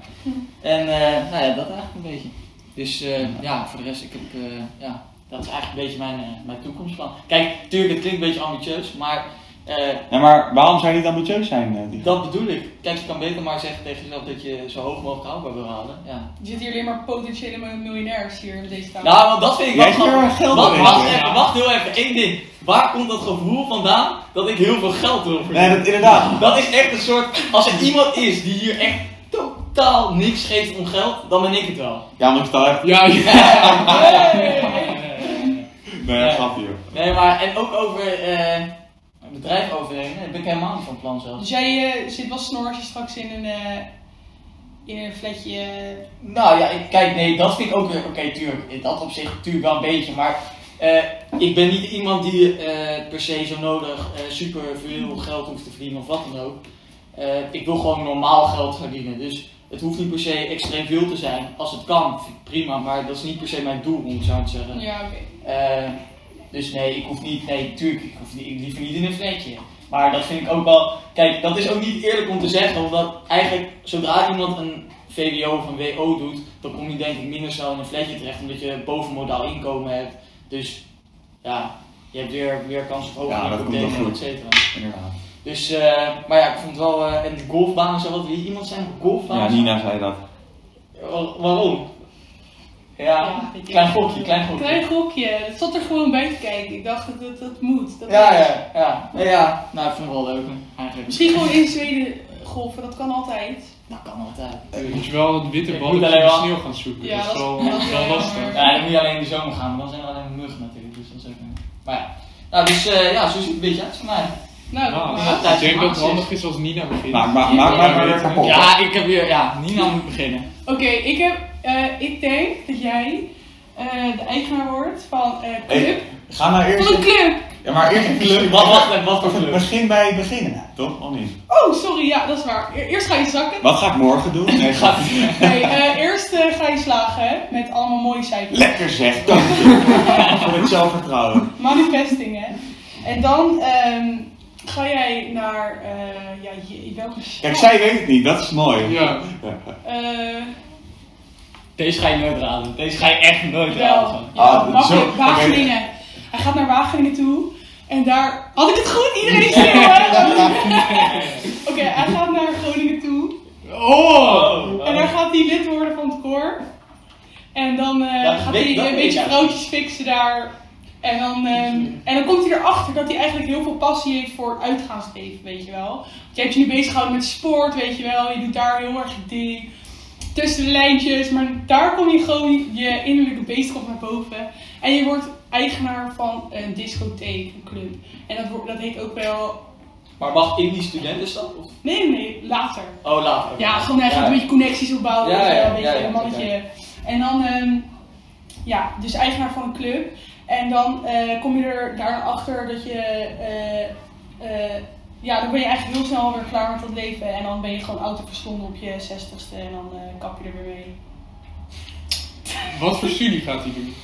B: En eh, nou ja, dat eigenlijk een beetje. Dus eh, ja, voor de rest, ik heb, eh, ja, dat is eigenlijk een beetje mijn, eh, mijn toekomstplan. Kijk, tuurlijk, het klinkt een beetje ambitieus, maar eh,
A: Ja, maar waarom zou je niet ambitieus zijn? eh, die-
B: dat bedoel ik. Kijk, je kan beter maar zeggen tegen jezelf dat je zo hoog mogelijk haalbaar wil halen. Ja.
C: Er zitten hier alleen maar potentiële miljonairs hier in deze tafel.
B: Nou, want dat vind ik wel
A: Jij zit heel
B: grappig.
A: erg geld
B: Wacht,
A: erin,
B: wacht,
A: hoor.
B: even, wacht heel even, één ding. Waar komt dat gevoel vandaan dat ik heel veel geld wil verdienen?
A: Nee, dat, inderdaad.
B: Dat is echt een soort. Als er iemand is die hier echt totaal niks geeft om geld, dan ben ik het wel.
A: Ja, maar ik sta echt...
D: Ja, ja.
A: Nee, dat gaat hier.
B: Nee, maar en ook over eh, een bedrijf overnemen, daar ben ik helemaal niet van plan zelfs.
C: Dus jij eh, zit wel snor als je straks in een, eh in een flatje... eh,
B: Nou ja, ik, kijk, nee, dat vind ik ook weer. Oké, tuurlijk, in dat opzicht natuurlijk wel een beetje, maar eh, ik ben niet iemand die eh, per se zo nodig eh super veel geld hoeft te verdienen of wat dan ook. Eh, ik wil gewoon normaal geld verdienen, dus het hoeft niet per se extreem veel te zijn. Als het kan, vind ik prima, maar dat is niet per se mijn doel, om het zo te zeggen.
C: Ja, oké.
B: Eh, dus nee, ik hoef niet, nee, tuurlijk, ik hoef niet, ik liever niet in een vlekje. Maar dat vind ik ook wel, kijk, dat is ook niet eerlijk om te zeggen, omdat eigenlijk zodra iemand een VWO of een WO doet, dan kom je denk ik minder snel in een vlekje terecht, omdat je bovenmodaal inkomen hebt. Dus ja, je hebt weer, weer kans op
A: Ja,
B: hoger
A: dat komt
B: hypotheek
A: wel
B: en et
A: goed.
B: cetera.
A: Inderdaad.
B: Dus, eh, maar ja, ik vond wel, eh, en de golfbaan en zo, wat wil iemand zijn op
A: Ja,
B: golfbaan?
A: Nina zei dat.
B: Wa- Waarom? Ja,
C: Ja, weet ik.
B: klein gokje, klein gokje.
C: Klein gokje. Dat zat er gewoon bij te kijken. Ik dacht, dat, dat, dat moet. Dat
B: Ja,
C: moet.
B: ja, ja. Ja, ja. Nou, ik vind het wel leuk, eigenlijk.
C: Misschien gewoon in Zweden golven. Dat kan altijd.
B: Dat kan altijd.
D: Moet je wel het witte
B: Ik
D: balletje
B: moet
D: in
B: alleen
D: de
B: wel-
D: sneeuw gaan zoeken.
C: Ja,
D: dat is
C: dat-
D: wel,
C: dat
D: dat is wel
C: wel
D: lastig.
C: jammer.
B: Ja, dan moet je alleen in de zomer gaan, want dan zijn er alleen maar muggen natuurlijk. Dus dat is ook een... Maar ja. Nou, dus eh, ja, zo ziet het een beetje uit voor mij.
C: Nou, dat
D: Ja,
C: mag.
B: dat
D: ik denk dat
B: maakt
D: het
B: zin.
D: handig is als Nina begint.
A: Maak maar, maak maar, maar weer kapot.
B: Ja, ik heb weer... Ja, Nina moet beginnen.
C: Oké, ik, heb, eh, ik denk dat jij eh, de eigenaar wordt van eh club.
A: Hey, ga nou eerst...
C: Van een club!
A: Ja, maar eerst een club.
B: Wat, wacht even, wat voor kleur?
A: Begin bij het begin, hè, toch? Of niet?
C: Oh, sorry, ja, dat is waar. E- Eerst ga je zakken.
A: Wat ga ik morgen doen? Nee, ga...
C: Nee, eh, eerst eh, ga je slagen hè, met allemaal mooie
A: [LAUGHS]
C: cijfers.
A: Lekker zeg, dank je. [LAUGHS] Voor het zelfvertrouwen.
C: Manifesting, hè. En dan ehm, ga jij naar. eh, ja, je, welke
A: Kijk,
C: stad?
A: zij weet het niet, dat is mooi.
D: Ja.
C: Eh,
B: Deze ga je nooit raden. Deze ga je echt nooit
C: wel.
B: raden.
C: Ja,
A: Ah,
C: makkelijk.
A: zo.
C: Wageningen. Hij gaat naar Wageningen toe. En daar. Had ik het goed?
A: [LAUGHS]
C: Iedereen schreeuwen. Oké, hij gaat naar Groningen toe.
D: Oh!
C: En daar gaat hij lid worden van het koor. En dan eh,
B: Ja, dat
C: gaat
B: weet-
C: hij
B: dat
C: een
B: weet
C: beetje
B: ik.
C: vrouwtjes fixen daar. En dan, ehm, en dan komt hij erachter dat hij eigenlijk heel veel passie heeft voor het uitgaansleven, weet je wel. Want jij hebt je nu bezig gehouden met sport, weet je wel. Je doet daar heel erg je ding. Tussen de lijntjes. Maar daar kom je gewoon je innerlijke beest komt naar boven. En je wordt eigenaar van een discotheek, een club. En dat, wordt- dat heet ook wel...
B: Maar mag in die studentenstad? Of?
C: Nee, nee, nee, later.
B: Oh, later. oké.
C: Ja, gewoon eigenlijk een beetje connecties opbouwen.
B: Ja,
C: weet je wel,
B: ja,
C: een beetje
B: ja, ja,
C: een mannetje. En dan, ehm, ja, dus eigenaar van een club. En dan eh, kom je er daarachter dat je, eh, eh, ja, dan ben je eigenlijk heel snel weer klaar met dat leven. En dan ben je gewoon autoverstonden op je zestigste en dan eh, kap je er weer mee.
D: Wat voor studie gaat hij doen?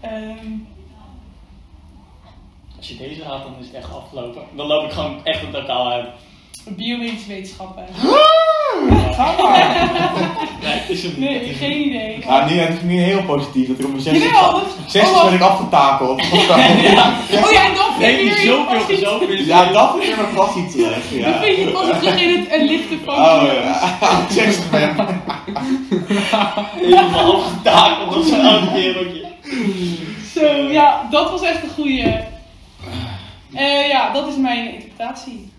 C: Ehm,
B: Als je deze raadt, dan is het echt afgelopen. Dan loop ik gewoon echt een totaal uit.
C: biomedische wetenschappen.
A: Ga maar.
B: Nee, het is hem niet.
C: Nee, geen idee.
B: Ah,
A: Nou, nu heb ik nu heel positief dat ik op mijn
C: Jawel, Oh,
A: 60
C: dat is-
A: zestig ben ik afgetakeld.
C: Oh ja, en dan vind
B: Nee,
C: je
B: niet
C: weer je
B: zoveel,
C: passie.
B: zoveel.
A: Ja, dat is er nog vast niet terug.
C: Dan
A: Ja.
C: vind je pas terug in het een lichte van
A: Oh ja, [LAUGHS] 60 ben
B: Helemaal afgetakeld op zo'n oud kereltje.
C: Zo, ja, dat was echt een goeie. Eh, ja, dat is mijn interpretatie.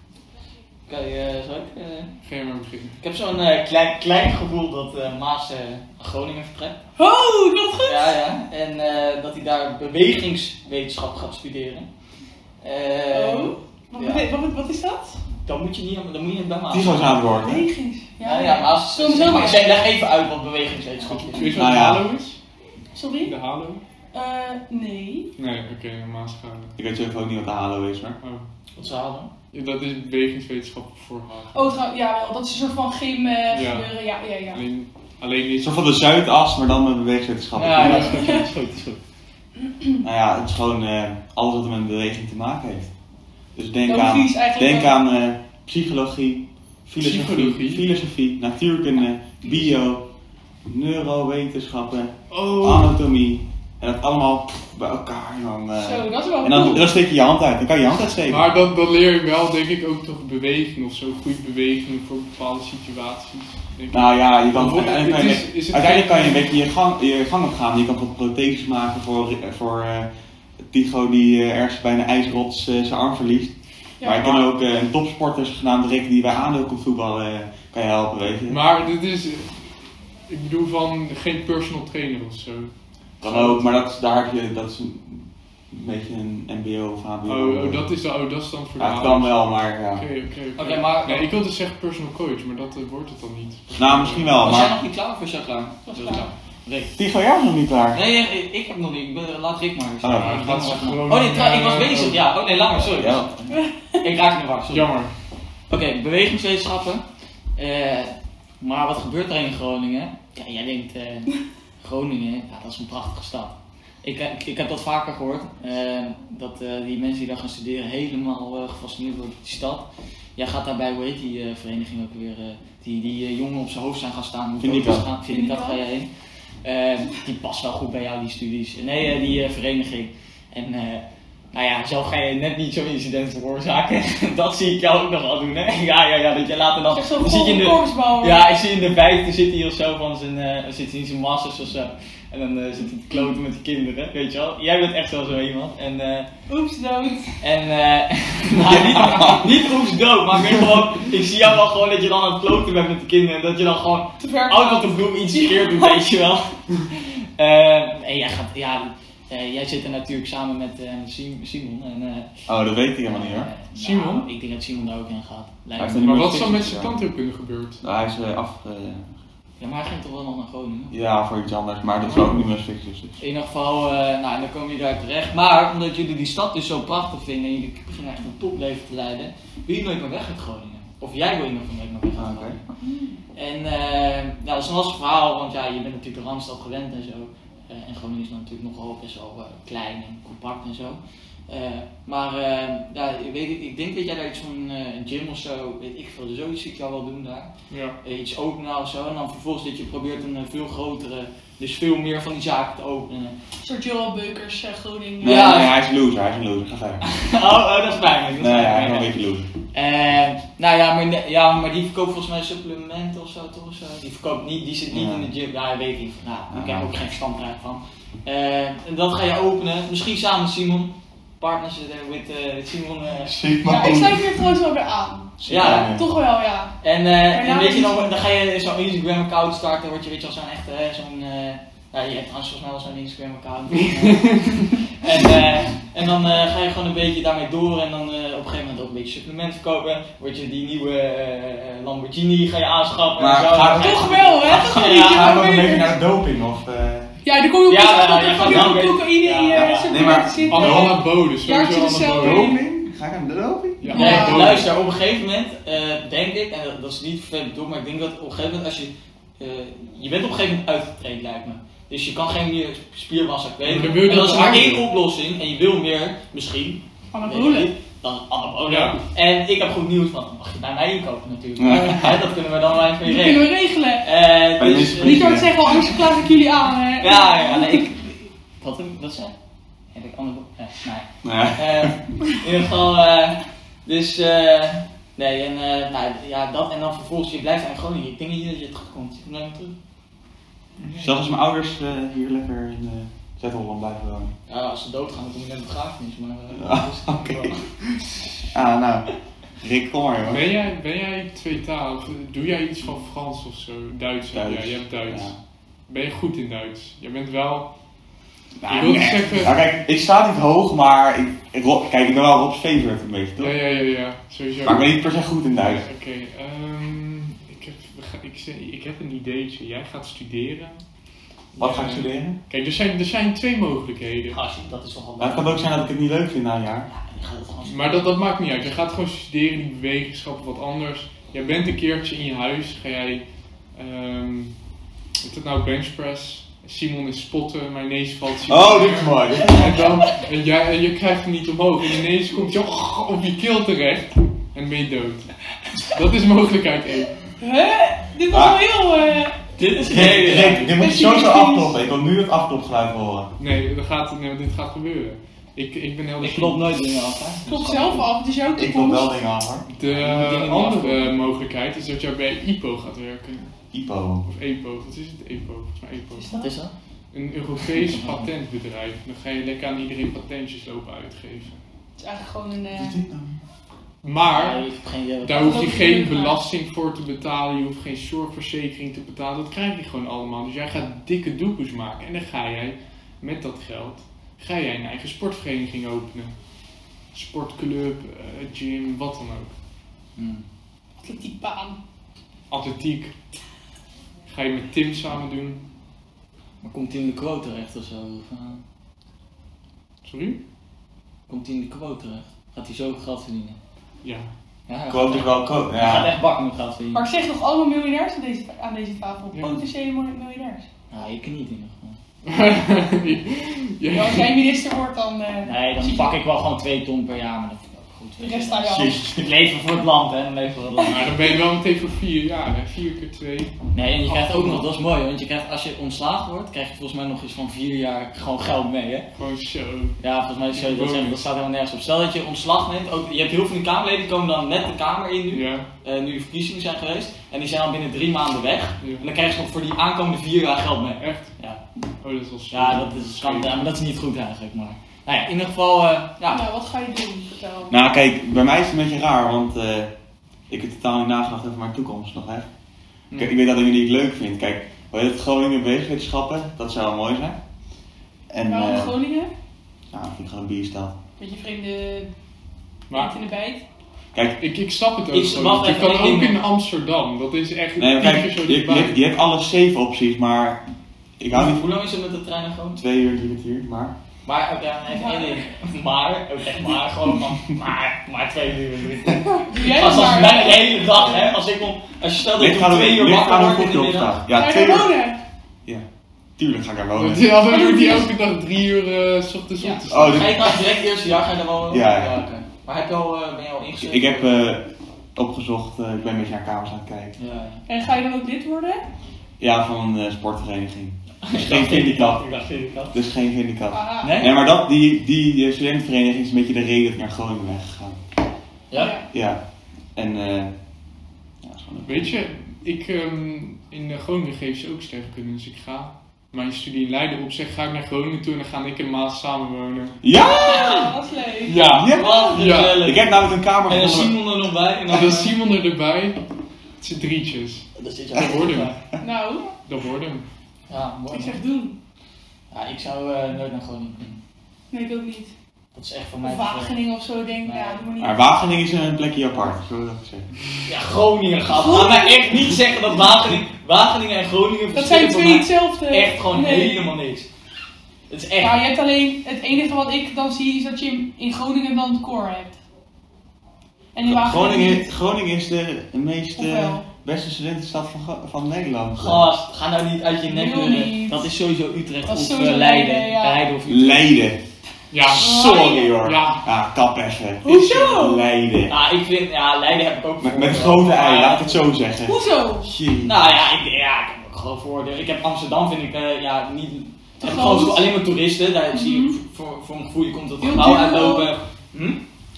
B: Oké, eh, zal ik? eh,
D: Ga je maar beginnen.
B: ik heb zo'n eh, klein, klein gevoel dat eh, Maas eh, naar Groningen vertrekt.
C: Oh, dat goed!
B: Ja, ja. En eh, dat hij daar bewegingswetenschap gaat studeren. Eh,
C: Oh.
G: Wat,
B: Ja.
G: bete- wat, wat is dat?
B: Dan moet je niet, aan- dan moet je het bij
A: Die
B: maken.
A: was aan het woord. hè?
G: Bewegings.
B: Nou Ja, ja, maar als,
G: Soms
B: zeg maar,
G: ook.
B: zeg- leg even uit wat bewegingswetenschap
D: Weet je
B: is.
D: wat
A: Nou
D: de
A: ja.
D: halo is?
G: Sorry?
D: De halo?
G: Eh, nee.
D: Nee, oké, okay, maatschappij.
A: Ik weet zelf ook niet wat de halo is, maar.
D: Oh.
B: Wat ze hadden.
D: Dat is bewegingswetenschap voor halo.
G: Oh, trouw- ja, wel, dat is een soort van gym eh,
D: Ja.
G: gebeuren. Ja, ja, ja.
D: Alleen, alleen
A: Zo
D: is...
A: van de Zuidas, maar dan met beweegswetenschappen.
B: Ja, ja, is goed, is goed, is goed.
A: Nou ja, het is gewoon eh, alles wat er met beweging te maken heeft. Dus denk
G: Dan
A: aan,
G: vies eigenlijk
A: denk
G: wel.
A: aan eh, psychologie, filosofie,
D: Psychologie?
A: filosofie, natuurkunde, bio, neurowetenschappen, Ah,
D: Oh!
A: anatomie. En dat allemaal pff, bij elkaar. En dan, eh,
G: Zo, dat is wel
A: en dan,
G: cool.
A: dan steek je je hand uit. Dan kan je je hand uitsteken.
D: Maar dan, dan leer je wel, denk ik, ook toch beweging of zo. Goede beweging voor bepaalde situaties. Denk ik.
A: Nou ja, je kan,
D: Wordt-
A: uiteindelijk, kan je,
D: het is- is het
A: uiteindelijk kan je een
D: geen-
A: beetje je gang, je gang op gaan. Je kan wat protheses maken voor, voor eh, Tycho die eh, ergens bij een ijsrots eh, zijn arm verliest.
G: Ja.
A: maar je kan ook eh, een topsporter genaamd Rick die bij Aandeel komt voetballen eh, kan je helpen, weet je.
D: Maar dit is... Ik bedoel van geen personal trainer of zo.
A: kan ook, maar dat, is- daar heb je, dat is een, een beetje een mbo of hbo.
D: Oh, oh, dat is dan, oh, dat is dan voor de
A: Ja, het
D: halo.
A: kan wel, maar ja.
D: Oké, oké, oké.
B: Oké, maar-
D: Nee, ik wilde dus zeggen personal coach, maar dat eh, wordt het dan niet.
A: Nou, misschien wel,
B: Was jij
A: maar
B: nog niet klaar of was jij klaar?
G: was
B: Dat
G: klaar.
B: Rick.
A: Tycho, jij was nog niet klaar.
B: Nee, ik, ik heb nog niet. Ik ben- Laat Rick maar eens.
A: Oh,
B: Ja, ik
D: Ah, dat
B: ga
D: is
B: maar.
D: gewoon-
B: oh nee, trouw- ik was
D: eh,
B: bezig.
D: oh.
B: Ja, oh nee, langer, sorry.
A: Ja.
B: Ik raak in de war, sorry.
D: Jammer.
B: Oké, bewegingswetenschappen. Eh, maar wat gebeurt er in Groningen? Ja, jij denkt, eh, Groningen, ja, dat is een prachtige stad. Ik, eh, ik, ik heb dat vaker gehoord, eh, dat eh, die mensen die daar gaan studeren helemaal eh, gefascineerd worden door die stad. Jij gaat daarbij, hoe heet die eh, vereniging ook weer, eh, die, die eh, jongen op zijn hoofd zijn gaan staan. hoe
A: Vind ik
B: foto's
A: wel.
B: gaan- Vind ik dat, ga jij heen. Eh, die past wel goed bij jou, die studies. Nee, eh, die eh, vereniging. En eh, nou ja, zelf ga je net niet zo'n incident veroorzaken. [LAUGHS] dat zie ik jou ook nog wel doen, hè? [LAUGHS] Ja, ja, ja, dat je later dan...
G: Zeg zo'n
B: dan zit je in
G: volle
B: de,
G: korpsbouwer.
B: ja, ik zie in de vijfde zit hij of zo van zijn... eh, zit hij in zijn masters of zo. En dan eh, zit hij te kloten met de kinderen, weet je wel. Jij bent echt wel zo iemand. En, eh,
G: Oeps, dood.
B: en eh, [LAUGHS] nou, niet, niet oeps dood, maar ik weet gewoon... Ik zie jou wel gewoon dat je dan aan het kloten bent met de kinderen. En dat je dan gewoon
G: Te ver.
B: Oud Oh, dat de bloem iets verkeerd doet, weet je wel. Eh, en jij gaat, ja, eh, jij zit er natuurlijk samen met eh, Sim- Simon. En, eh,
A: Oh, dat weet ik helemaal niet
B: eh,
A: hoor.
B: nou,
D: Simon?
B: ik denk dat Simon daar ook heen gaat. Lijkt
A: Hij
B: me.
A: heeft
D: Maar
A: een
D: wat is dan met
A: Ja.
D: zijn tandheelkunde gebeurd?
A: Nou, hij is eh, af. eh,
B: Ja, maar hij ging toch wel nog naar Groningen?
A: ja, voor iets anders, maar dat is ook niet meer fixes. Dus.
B: In ieder geval, eh, nou, en dan komen jullie daar terecht. Maar omdat jullie die stad dus zo prachtig vinden en jullie beginnen echt een topleven te leiden, wil je nooit meer weg uit Groningen. Of jij wil je nog nooit meer weg uit
A: Ah,
B: Groningen.
A: oké.
B: En eh, ja, dat is een lastig verhaal, want ja, je bent natuurlijk de Randstad gewend en zo. Eh, en Groningen is dan natuurlijk nogal best wel eh, klein en compact en zo. Eh, maar eh, ja, ik, weet, niet, ik denk dat jij daar iets van eh, een gym of zo, weet ik veel, zoiets zie ik jou wel doen daar.
D: Ja.
B: Eh, iets openen of zo. En dan vervolgens dat je probeert een eh, veel grotere, dus veel meer van die zaken te openen.
G: Een soort Joel Beukers, eh, Groningen.
A: Nee,
B: Ja.
A: nee, hij is een loser, hij is een loser. Ga verder.
B: oh, oh, dat is pijnlijk.
A: Nee,
B: dat is
A: hij is wel
B: pijnlijk.
A: een beetje loser.
B: Eh, nou ja maar, ne- ja, maar die verkoopt volgens mij supplementen of zo, toch? Of zo? Die verkoopt niet, die zit niet
A: Ja.
B: in de gym. Ja, weet ik niet. Nou, ik heb
A: Ah.
B: ook geen verstand eigenlijk van. Eh, en dat ga je openen, misschien samen met Simon. Partners eh, with, eh, with Simon. eh.
A: Ziek
G: Ja, ik sluit hier trouwens wel weer aan.
B: Ja,
G: Toch wel, ja.
B: En, eh, en
G: nou
B: weet je,
G: is-
B: dan, dan ga je zo'n Instagram account starten, dan word je weet je al zo'n echte, eh, zo'n... eh, ja, je hebt trouwens volgens mij wel zo'n Instagram
G: [LAUGHS]
B: account. en, eh, en dan eh, ga je gewoon een beetje daarmee door en dan eh, op een gegeven moment ook een beetje supplement verkopen. Word je die nieuwe eh, eh, Lamborghini, ga je aanschaffen
A: Maar
B: en zo.
A: gaat-
G: Toch wel, hè? Toch wel,
B: Ja,
G: ja,
A: Gaan we nog
G: maar
A: een beetje
G: weer.
A: naar de doping of... eh?
G: Ja, dan kom je op
B: Ja,
G: iets
B: ja,
G: dat
B: ja,
G: er
B: ja,
G: van
B: ja,
G: die cocaïne
B: ja,
G: in
B: ja.
G: je
A: Nee, maar
G: supermarkt zit.
D: Anderhalve boden, sowieso
G: Jaartje de cel
D: anderhalve
G: in.
D: boden.
A: Doping? Ga ik aan de doping?
D: Ja,
B: Nee,
D: anderhalve boden.
B: Eh, luister, op een gegeven moment eh, denk ik, en dat, dat is niet vervelend bedoeld, maar ik denk dat op een gegeven moment als je. eh, je bent op een gegeven moment uitgetraind, lijkt me. Dus je kan geen meer spiermassa kweken.
D: Dan wil je
B: En dat
D: dat
B: is maar
D: langer
B: één
D: doen.
B: oplossing en je wil meer, misschien. weet ik
G: Anabolen.
B: niet, Dan anabolen.
D: Ja.
B: En ik heb goed nieuws van, dan mag je bij mij inkopen natuurlijk.
A: Ja.
B: Hè, dat kunnen we dan wel even
G: Die
B: mee
G: kunnen
B: regelen.
G: we regelen.
B: Eh,
A: Bij
B: dus,
A: mensen-
B: eh,
G: Niet door te zeggen, anders klaag ik jullie aan. Hè.
B: ja, ja, nee, ik. Wat, wat zei? Heb ik andere. eh, nee.
A: Nee.
B: Eh, in ieder geval, eh, dus, eh, nee, en, eh, nou, ja, dat, en dan vervolgens, je blijft aan Groningen. Ik denk niet dat je terugkomt. Je komt nooit meer terug.
A: Zelfs als mijn ouders eh, hier lekker in eh Zuid-Holland blijven wonen.
B: Ja, als ze doodgaan, dan kom je naar de begrafenis, maar... eh,
A: Ah,
B: dat is het
A: oké.
B: wel.
A: Ah, nou. Rick, kom maar, jongen.
D: Ben jij, ben jij tweetalig? Doe jij iets van Frans of zo? Duits? hè?
A: Duits.
D: Ja, je hebt Duits.
A: Ja.
D: Ben je goed in Duits? Je bent wel. Ik wilde zeggen-
A: Nou, kijk, ik sta niet hoog, maar ik, ik, Rob- kijk, ik ben wel Rob's favorite een beetje, toch?
D: Ja, ja, ja, ja, sowieso.
A: Maar ik ben niet per se goed in
D: Oké,
A: duiken.
D: ehm, ik, heb, we gaan- ik, zeg- ik heb een ideetje. Jij gaat studeren.
A: Wat ga ik
D: Ja.
A: studeren?
D: Kijk, er zijn, er zijn twee mogelijkheden.
B: Gastje, dat is wel
A: Nou,
B: handig.
A: het kan ook zijn dat ik het niet leuk vind na een jaar.
B: Je gaat het gewoon zien.
D: Maar dat, dat maakt niet uit. Je gaat gewoon studeren, die bewegingschappen, wat anders. Jij bent een keertje in je huis, ga jij, ehm is dat nou benchpress? Simon is spotten, mijn neus valt Simon
A: Oh, [LAUGHS] dit is mooi.
D: En dan, en jij, en je krijgt hem niet omhoog en ineens komt je [LAUGHS] op je keel terecht en ben je dood. Dat is mogelijkheid 1.
G: Huh? Dit was
A: Ah.
G: wel heel... eh,
B: Dit is
A: Rick,
B: heel
A: Rick, dit moet je sowieso afkloppen. Ik wil nu het afklopgeluid horen.
D: Nee, dat gaat, nee, dit gaat gebeuren. Ik, ik ben heel
B: Ik klop nooit dingen af, hè?
G: Klop zelf af, het is jouw
A: Ik wil wel
G: toekomst.
A: dingen af hoor.
D: De andere mogelijkheid is dat jij bij IPO gaat werken.
A: Ipo.
D: Of EPO, wat is het? EPO, volgens mij EPO.
B: Wat is dat?
D: Een Europees patentbedrijf. Dan ga je lekker aan iedereen patentjes lopen uitgeven.
G: Het is eigenlijk gewoon een... eh,
A: Wat is dit nou?
D: Maar
B: Nee, ik heb geen idee.
D: daar hoef je geen belasting voor te betalen, je hoeft geen zorgverzekering te betalen. Dat krijg je gewoon allemaal. Dus jij gaat dikke doekoes maken en dan ga jij met dat geld ga jij een eigen sportvereniging openen. Sportclub, eh, gym, wat dan ook.
B: Hmm.
G: Klik die baan.
D: Atletiek. Ga je met Tim samen doen.
B: Maar komt hij in de quote terecht of zo? Of, eh,
D: Sorry?
B: komt hij in de quote terecht? Gaat hij zo geld verdienen?
D: Ja.
B: Ja, hij
A: Quote
B: gaat
A: is wel quote.
B: hij gaat
A: Ja.
B: echt bakken met geld verdienen.
G: Maar zeg nog allemaal miljonairs aan deze, aan deze tafel.
D: Ja.
G: Potentiële mil- miljonairs.
B: Ja, ik niet in ieder geval.
G: Ja, als
D: ja.
G: jij minister wordt, dan... eh,
B: Nee, dan
G: zie je-
B: pak ik wel gewoon twee ton per jaar, maar dat vind ik ook goed.
G: De
B: weet je.
G: rest aan jou.
A: Jezus.
B: Het leven voor het land, hè? Het leven voor het
D: [LAUGHS]
B: land.
D: Maar dan ben je wel meteen voor vier jaar, hè? Vier keer twee.
B: Nee, en je krijgt ook nog, dat is mooi, want je krijgt, als je ontslaafd wordt, krijg je volgens mij nog eens van vier jaar gewoon geld mee, hè?
D: Gewoon zo.
B: Ja, volgens mij zou je dat zeggen, dat staat helemaal nergens op. Stel dat je ontslag neemt, ook, je hebt heel veel van die Kamerleden, die komen dan net de Kamer in nu,
D: Ja.
B: eh, nu de verkiezingen zijn geweest, en die zijn al binnen drie maanden weg.
D: Ja.
B: En dan krijgen ze nog voor die aankomende vier jaar geld mee.
D: Echt?
B: Ja,
D: Oh, dat is wel zo.
B: ja dat is schande, maar dat is niet goed eigenlijk, maar... Nou ja, in ieder geval, eh, ja,
G: Nou, wat ga je doen? Vertel.
A: Nou kijk, bij mij is het een beetje raar, want eh, ik heb totaal niet nagedacht over mijn toekomst nog echt. Ik, ik weet dat dingen die ik leuk vind. Kijk, hoe heet het Groningen bewegingswetenschappen, dat zou wel mooi zijn. En
B: Nou,
G: Waarom
A: eh,
G: Groningen?
A: ja, ik vind gewoon een bierstad.
G: Beetje vreemde
D: Maar
G: eet in de bijt.
A: Kijk,
D: ik, ik snap het ook
B: Ik
D: gewoon.
B: wacht
D: niet. Je
B: even,
D: kan
B: ik
D: ook
B: denk-
D: in Amsterdam. Dat is echt
A: nee, maar
D: typisch
A: kijk
D: zo
A: je, je,
D: erbij.
A: hebt- je hebt alle safe opties, maar ik hou niet
B: hoe lang is het met de trein naar Groningen?
A: twee uur, drie kwartier, maar...
B: Maar ook ja, even één ding. Maar, ook echt maar, gewoon van, maar, maar twee uur. drie uur.
G: Doe jij
B: Als
G: dat
B: dat
G: maar.
B: mijn hele dag, hè, als ik om, als je stelt dat
A: Ligt
B: ik
A: gaan
B: om twee
A: we
B: uur
A: ligt
B: wakker
A: aan hoe
B: word in
A: goed
B: de
A: je
B: middag.
A: opstaat. Ja,
G: Ga
A: twee
G: je daar
A: uur.
G: wonen?
A: Ja, tuurlijk ga ik daar
D: Want
A: wonen.
D: die hadden doet hij elke dag drie uur eh, s ochtends
G: Ja.
D: op te staan.
A: Oh,
B: Ga
A: dit-
B: je nou direct eerste jaar, ga je dan wel?
A: Ja, ja.
B: oké. Maar heb je al, eh, ben je al ingeschreven?
A: ik heb eh, opgezocht, eh, ik ben een beetje naar kamers aan het kijken.
B: Ja, ja.
G: En ga je dan ook lid worden?
A: Ja, van een eh, sportvereniging. Dus
B: Ik
A: geen
B: dacht,
A: handicap.
B: Ik dacht handicap.
A: Dus geen handicap.
G: Ah,
B: Nee?
A: Nee, maar dat, die, die, eh, studentenvereniging is een beetje de reden dat ik naar Groningen ben gegaan.
B: Ja?
A: Ja. En eh. ja, dat is gewoon leuk.
D: Weet je, ik, ehm, in eh, Groningen geven ze ook sterrenkunde. Dus ik ga mijn studie in Leiden opzeggen. Ga ik naar Groningen toe en dan gaan ik en Maas samen wonen.
A: Ja!
G: Ah, wat leuk.
D: Ja.
A: Ja!
B: Wat
D: Ja.
B: gezellig.
A: Ik heb namelijk een kamer
B: En dan
A: gevonden.
B: Simon er nog bij. En
D: En
B: dan
D: dan
B: [LAUGHS]
D: Simon er erbij. Het zijn drietjes.
B: Dat zit je
D: Dat wordt
B: eigenlijk-
D: hem.
G: Nou,
D: Dat wordt hem.
B: Ja, mooi.
G: ik
B: man.
G: zeg doen.
B: Ja, ik zou eh, nooit naar Groningen kunnen.
G: Nee, ik ook niet.
B: Dat is echt voor mij...
G: Of
B: te ver.
G: Wageningen of zo, denk ik. Ja, dat moet niet.
A: Maar Wageningen is een plekje apart, zullen we dat zeggen.
B: Ja, Groningen gaat. Ga maar echt niet zeggen dat Wageningen, Wageningen en Groningen
G: Dat zijn
B: verschillen voor
G: twee eh,
B: mij
G: hetzelfde.
B: echt gewoon helemaal niks. Het is echt.
G: Nou, je hebt alleen, het enige wat ik dan zie is dat je in Groningen dan het koor hebt. En in Wageningen
A: Groningen,
G: niet.
A: Groningen is de meest eh,
G: Ofwel.
A: beste studentenstad van, Go- van Nederland.
B: Gast, ga nou niet uit je nek
G: Wil
B: lullen.
G: niet.
B: Dat is sowieso Utrecht
G: Dat is
B: of
G: sowieso
B: eh, Leiden.
G: Leiden, ja.
B: Leiden of Utrecht.
A: Leiden.
D: Ja.
A: Sorry hoor.
D: Ja.
A: Ah, kap even.
G: Hoezo?
A: Leiden.
B: Nou, ik vind, ja, Leiden heb ik ook
A: Met,
B: voor-
A: met grote ei,
B: Ja,
A: laat ik het zo zeggen.
G: Hoezo?
A: Jee.
B: Nou ja, ik, ja, ik heb ook gewoon voordeel. Ik heb Amsterdam, vind ik, eh, ja, niet... Ik heb
G: groot.
B: gewoon zo- alleen maar toeristen, daar zie
G: Mhm.
B: je, voor, voor mijn gevoel, je komt dat
G: Heel
B: gebouw
G: duur.
B: uitlopen. Hm?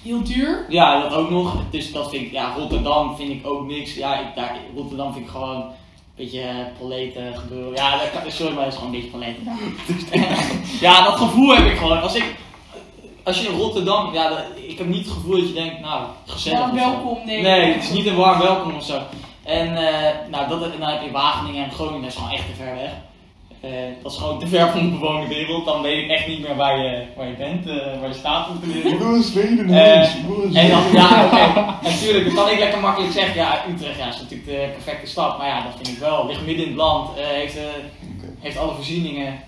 G: Heel duur.
B: Ja, dat ook nog. Dus dat vind ik, ja, Rotterdam vind ik ook niks. Ja, ik, daar, Rotterdam vind ik gewoon een beetje eh, poleten gebeuren. Ja, dat kan, sorry, maar dat is gewoon een beetje poleten. [LAUGHS] ja, dat gevoel heb ik gewoon. Als ik, als je in Rotterdam, ja, dat- ik heb niet het gevoel dat je denkt, nou, gezellig.
G: Warm
B: of zo.
G: welkom, nee.
B: Nee, het is niet een warm welkom of zo. En eh, nou, dat, en dan heb je Wageningen en Groningen, dat is gewoon echt te ver weg. Eh, dat is gewoon te ver van de bewoonde wereld. Dan weet ik echt niet meer waar je, waar je bent, eh, waar je staat om te leren.
A: wil een Zweden,
B: Eh,
A: ik wil een
B: En dan,
A: Zweden.
B: ja, oké.
A: [LAUGHS]
B: Natuurlijk, dan kan ik lekker makkelijk zeggen, ja, Utrecht ja, is natuurlijk de perfecte stad. Maar ja, dat vind ik wel. Ligt midden in het land, eh, heeft, eh,
A: Oké.
B: heeft alle voorzieningen.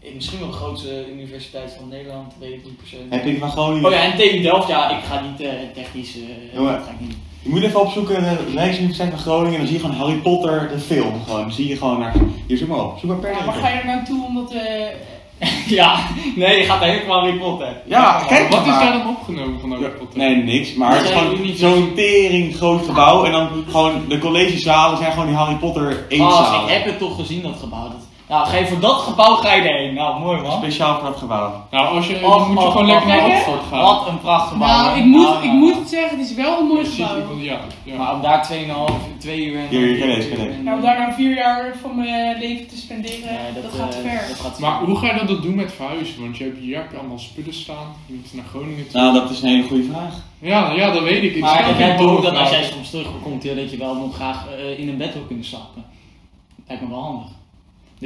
B: eh, misschien wel de grootste universiteit van Nederland, weet ik niet per se.
A: Heb ik van Groningen.
B: Oh ja, en TU Delft, ja, ik ga niet eh, technisch, eh,
A: Jongen.
B: dat ga ik niet. [LAUGHS]
A: Je moet even opzoeken, eh, de Rijksuniversiteit van Groningen, en dan zie je gewoon Harry Potter, de film. Gewoon, dan zie je gewoon naar, hier zoek maar op, zoek maar per
G: Ja, maar ga je er naartoe omdat... eh,
B: Ja, nee, je gaat helemaal niet potten.
A: Ja, kijk
D: Wat is
A: maar.
D: daar dan opgenomen van Harry
A: Ja,
D: Potter?
A: Nee, niks, maar het is
B: Nee,
A: gewoon
B: niet.
A: zo'n tering groot gebouw en dan gewoon de collegezalen zijn gewoon die Harry Potter
B: Gast, ik
A: eetzalen.
B: heb het toch gezien, dat gebouw. Dat... Nou, ga je voor dat gebouw ga je erheen. Nou, mooi man.
A: Speciaal voor dat gebouw.
D: Nou, als je, dan
B: Of-
D: moet je
B: of-
D: gewoon
B: of-
D: lekker naar
G: kijk, hè?
D: Oxford gaan.
B: Wat een prachtig gebouw.
C: Nou,
B: hè.
C: ik moet,
B: Nou,
C: ik
B: nou.
C: moet het zeggen, het is wel een mooi
D: Precies, ik
C: gebouw.
D: wil- ja, ja.
B: Maar om daar 2,5, 2 uur en.
A: Hier, hier, ken deze, ken deze.
G: Nou, om daar nou vier jaar van mijn leven te spenderen,
B: Nee,
G: dat, gaat te
B: eh,
G: ver.
B: Dat gaat te
D: Maar
B: ver.
D: hoe ga je dan dat doen met verhuizen? Want je hebt hier heb je allemaal spullen staan. Je moet naar Groningen toe.
A: Nou, dat is een hele goede vraag.
D: Ja, ja, dat weet ik. Ik
B: Maar
D: snap
B: ik
D: het
B: heb ook
D: ook
B: dat
D: maar-
B: als jij soms terugkomt, ja, dat je wel nog graag eh, in een bed wil kunnen slapen. Lijkt me wel handig.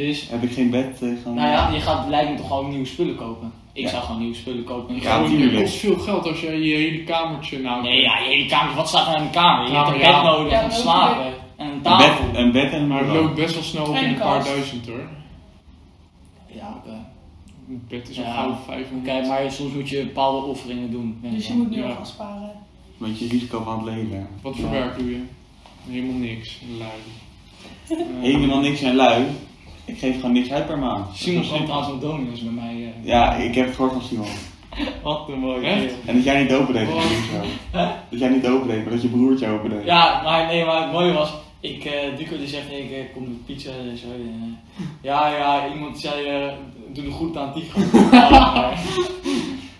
B: Dus,
A: Heb ik geen bed eh, gewoon.
B: nou ja, je gaat lijkt me toch gewoon nieuwe spullen kopen. Ik
A: Ja.
B: zou gewoon nieuwe spullen kopen. en
A: Ja,
B: gewoon-
D: Groningen
A: tuurlijk.
D: kost veel geld als jij je hele kamertje nou...
B: Nee, ja, je hele kamer, wat staat er aan de kamer? Je hebt een
D: Kamer, ja.
B: bed nodig
G: Ja,
B: om te
G: ook
B: slapen. En een
A: Een
B: tafel.
A: bed, een bed en een
D: Maar het
A: bureau.
D: loopt best wel snel op
G: En
D: in een
G: de
D: paar
G: kast.
D: duizend hoor.
B: Ja, oké.
D: Het bed is al
B: Ja.
D: gauw 500.
B: Oké, maar soms moet je bepaalde offeringen doen. weet
G: Dus je
B: wel.
G: moet nu
D: Ja.
G: al gaan sparen.
A: Een beetje risico van het leven.
D: Wat voor
B: Ja.
D: werk doe je? Helemaal niks.
B: [LAUGHS]
D: Lui. Eh,
A: Helemaal niks en lui. Ik geef gewoon niks uit per maand.
B: Simon
A: Dat is
B: kwam
A: wel
B: trouwens op Dominus bij mij. eh.
A: Ja, ik heb het gehoord van Simon.
B: Wat een mooie
D: Echt?
B: kerel.
A: En dat jij niet open deed,
D: Oh.
A: dat is zo. Dat jij niet open deed, maar dat je broertje open deed.
B: Ja, maar nee, maar het mooie was, ik, eh Duco die zegt, ik eh, kom met pizza en zo. en, eh, ja, ja, iemand zei, eh doe de groet
A: [LAUGHS]
B: aan Tigo. Ja, maar-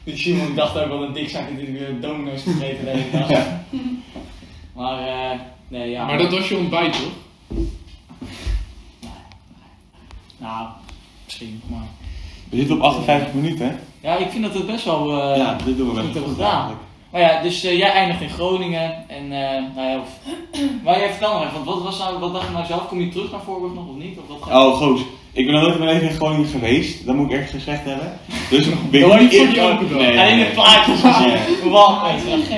B: Dus Simon dacht ook wel een dikzak dat hij weer Domino's gegeten de hele dag. Maar, eh, nee, ja.
D: Maar dat was je ontbijt toch?
B: Nou, misschien, maar...
A: We zitten op 58 minuten, hè?
B: Ja, ik vind dat het best wel... eh,
A: ja, dit doen we best wel
B: goed hebben
A: goed
B: gedaan.
A: eigenlijk.
B: Maar ja, dus eh, jij eindigt in Groningen en eh, nou ja, of- maar jij vertel maar even, want wat, was nou, wat dacht je nou zelf? Kom je terug naar Voorburg nog of niet? Of wat ga je-
A: Oh, goed. Ik ben nog nooit in mijn leven in Groningen geweest. Dat moet ik echt gezegd hebben. Dus ik ben
D: Nooit
A: in-
D: voor die open dag.
A: Nee,
B: Ja, in
A: nee,
B: de plaatjes gezien. Wat?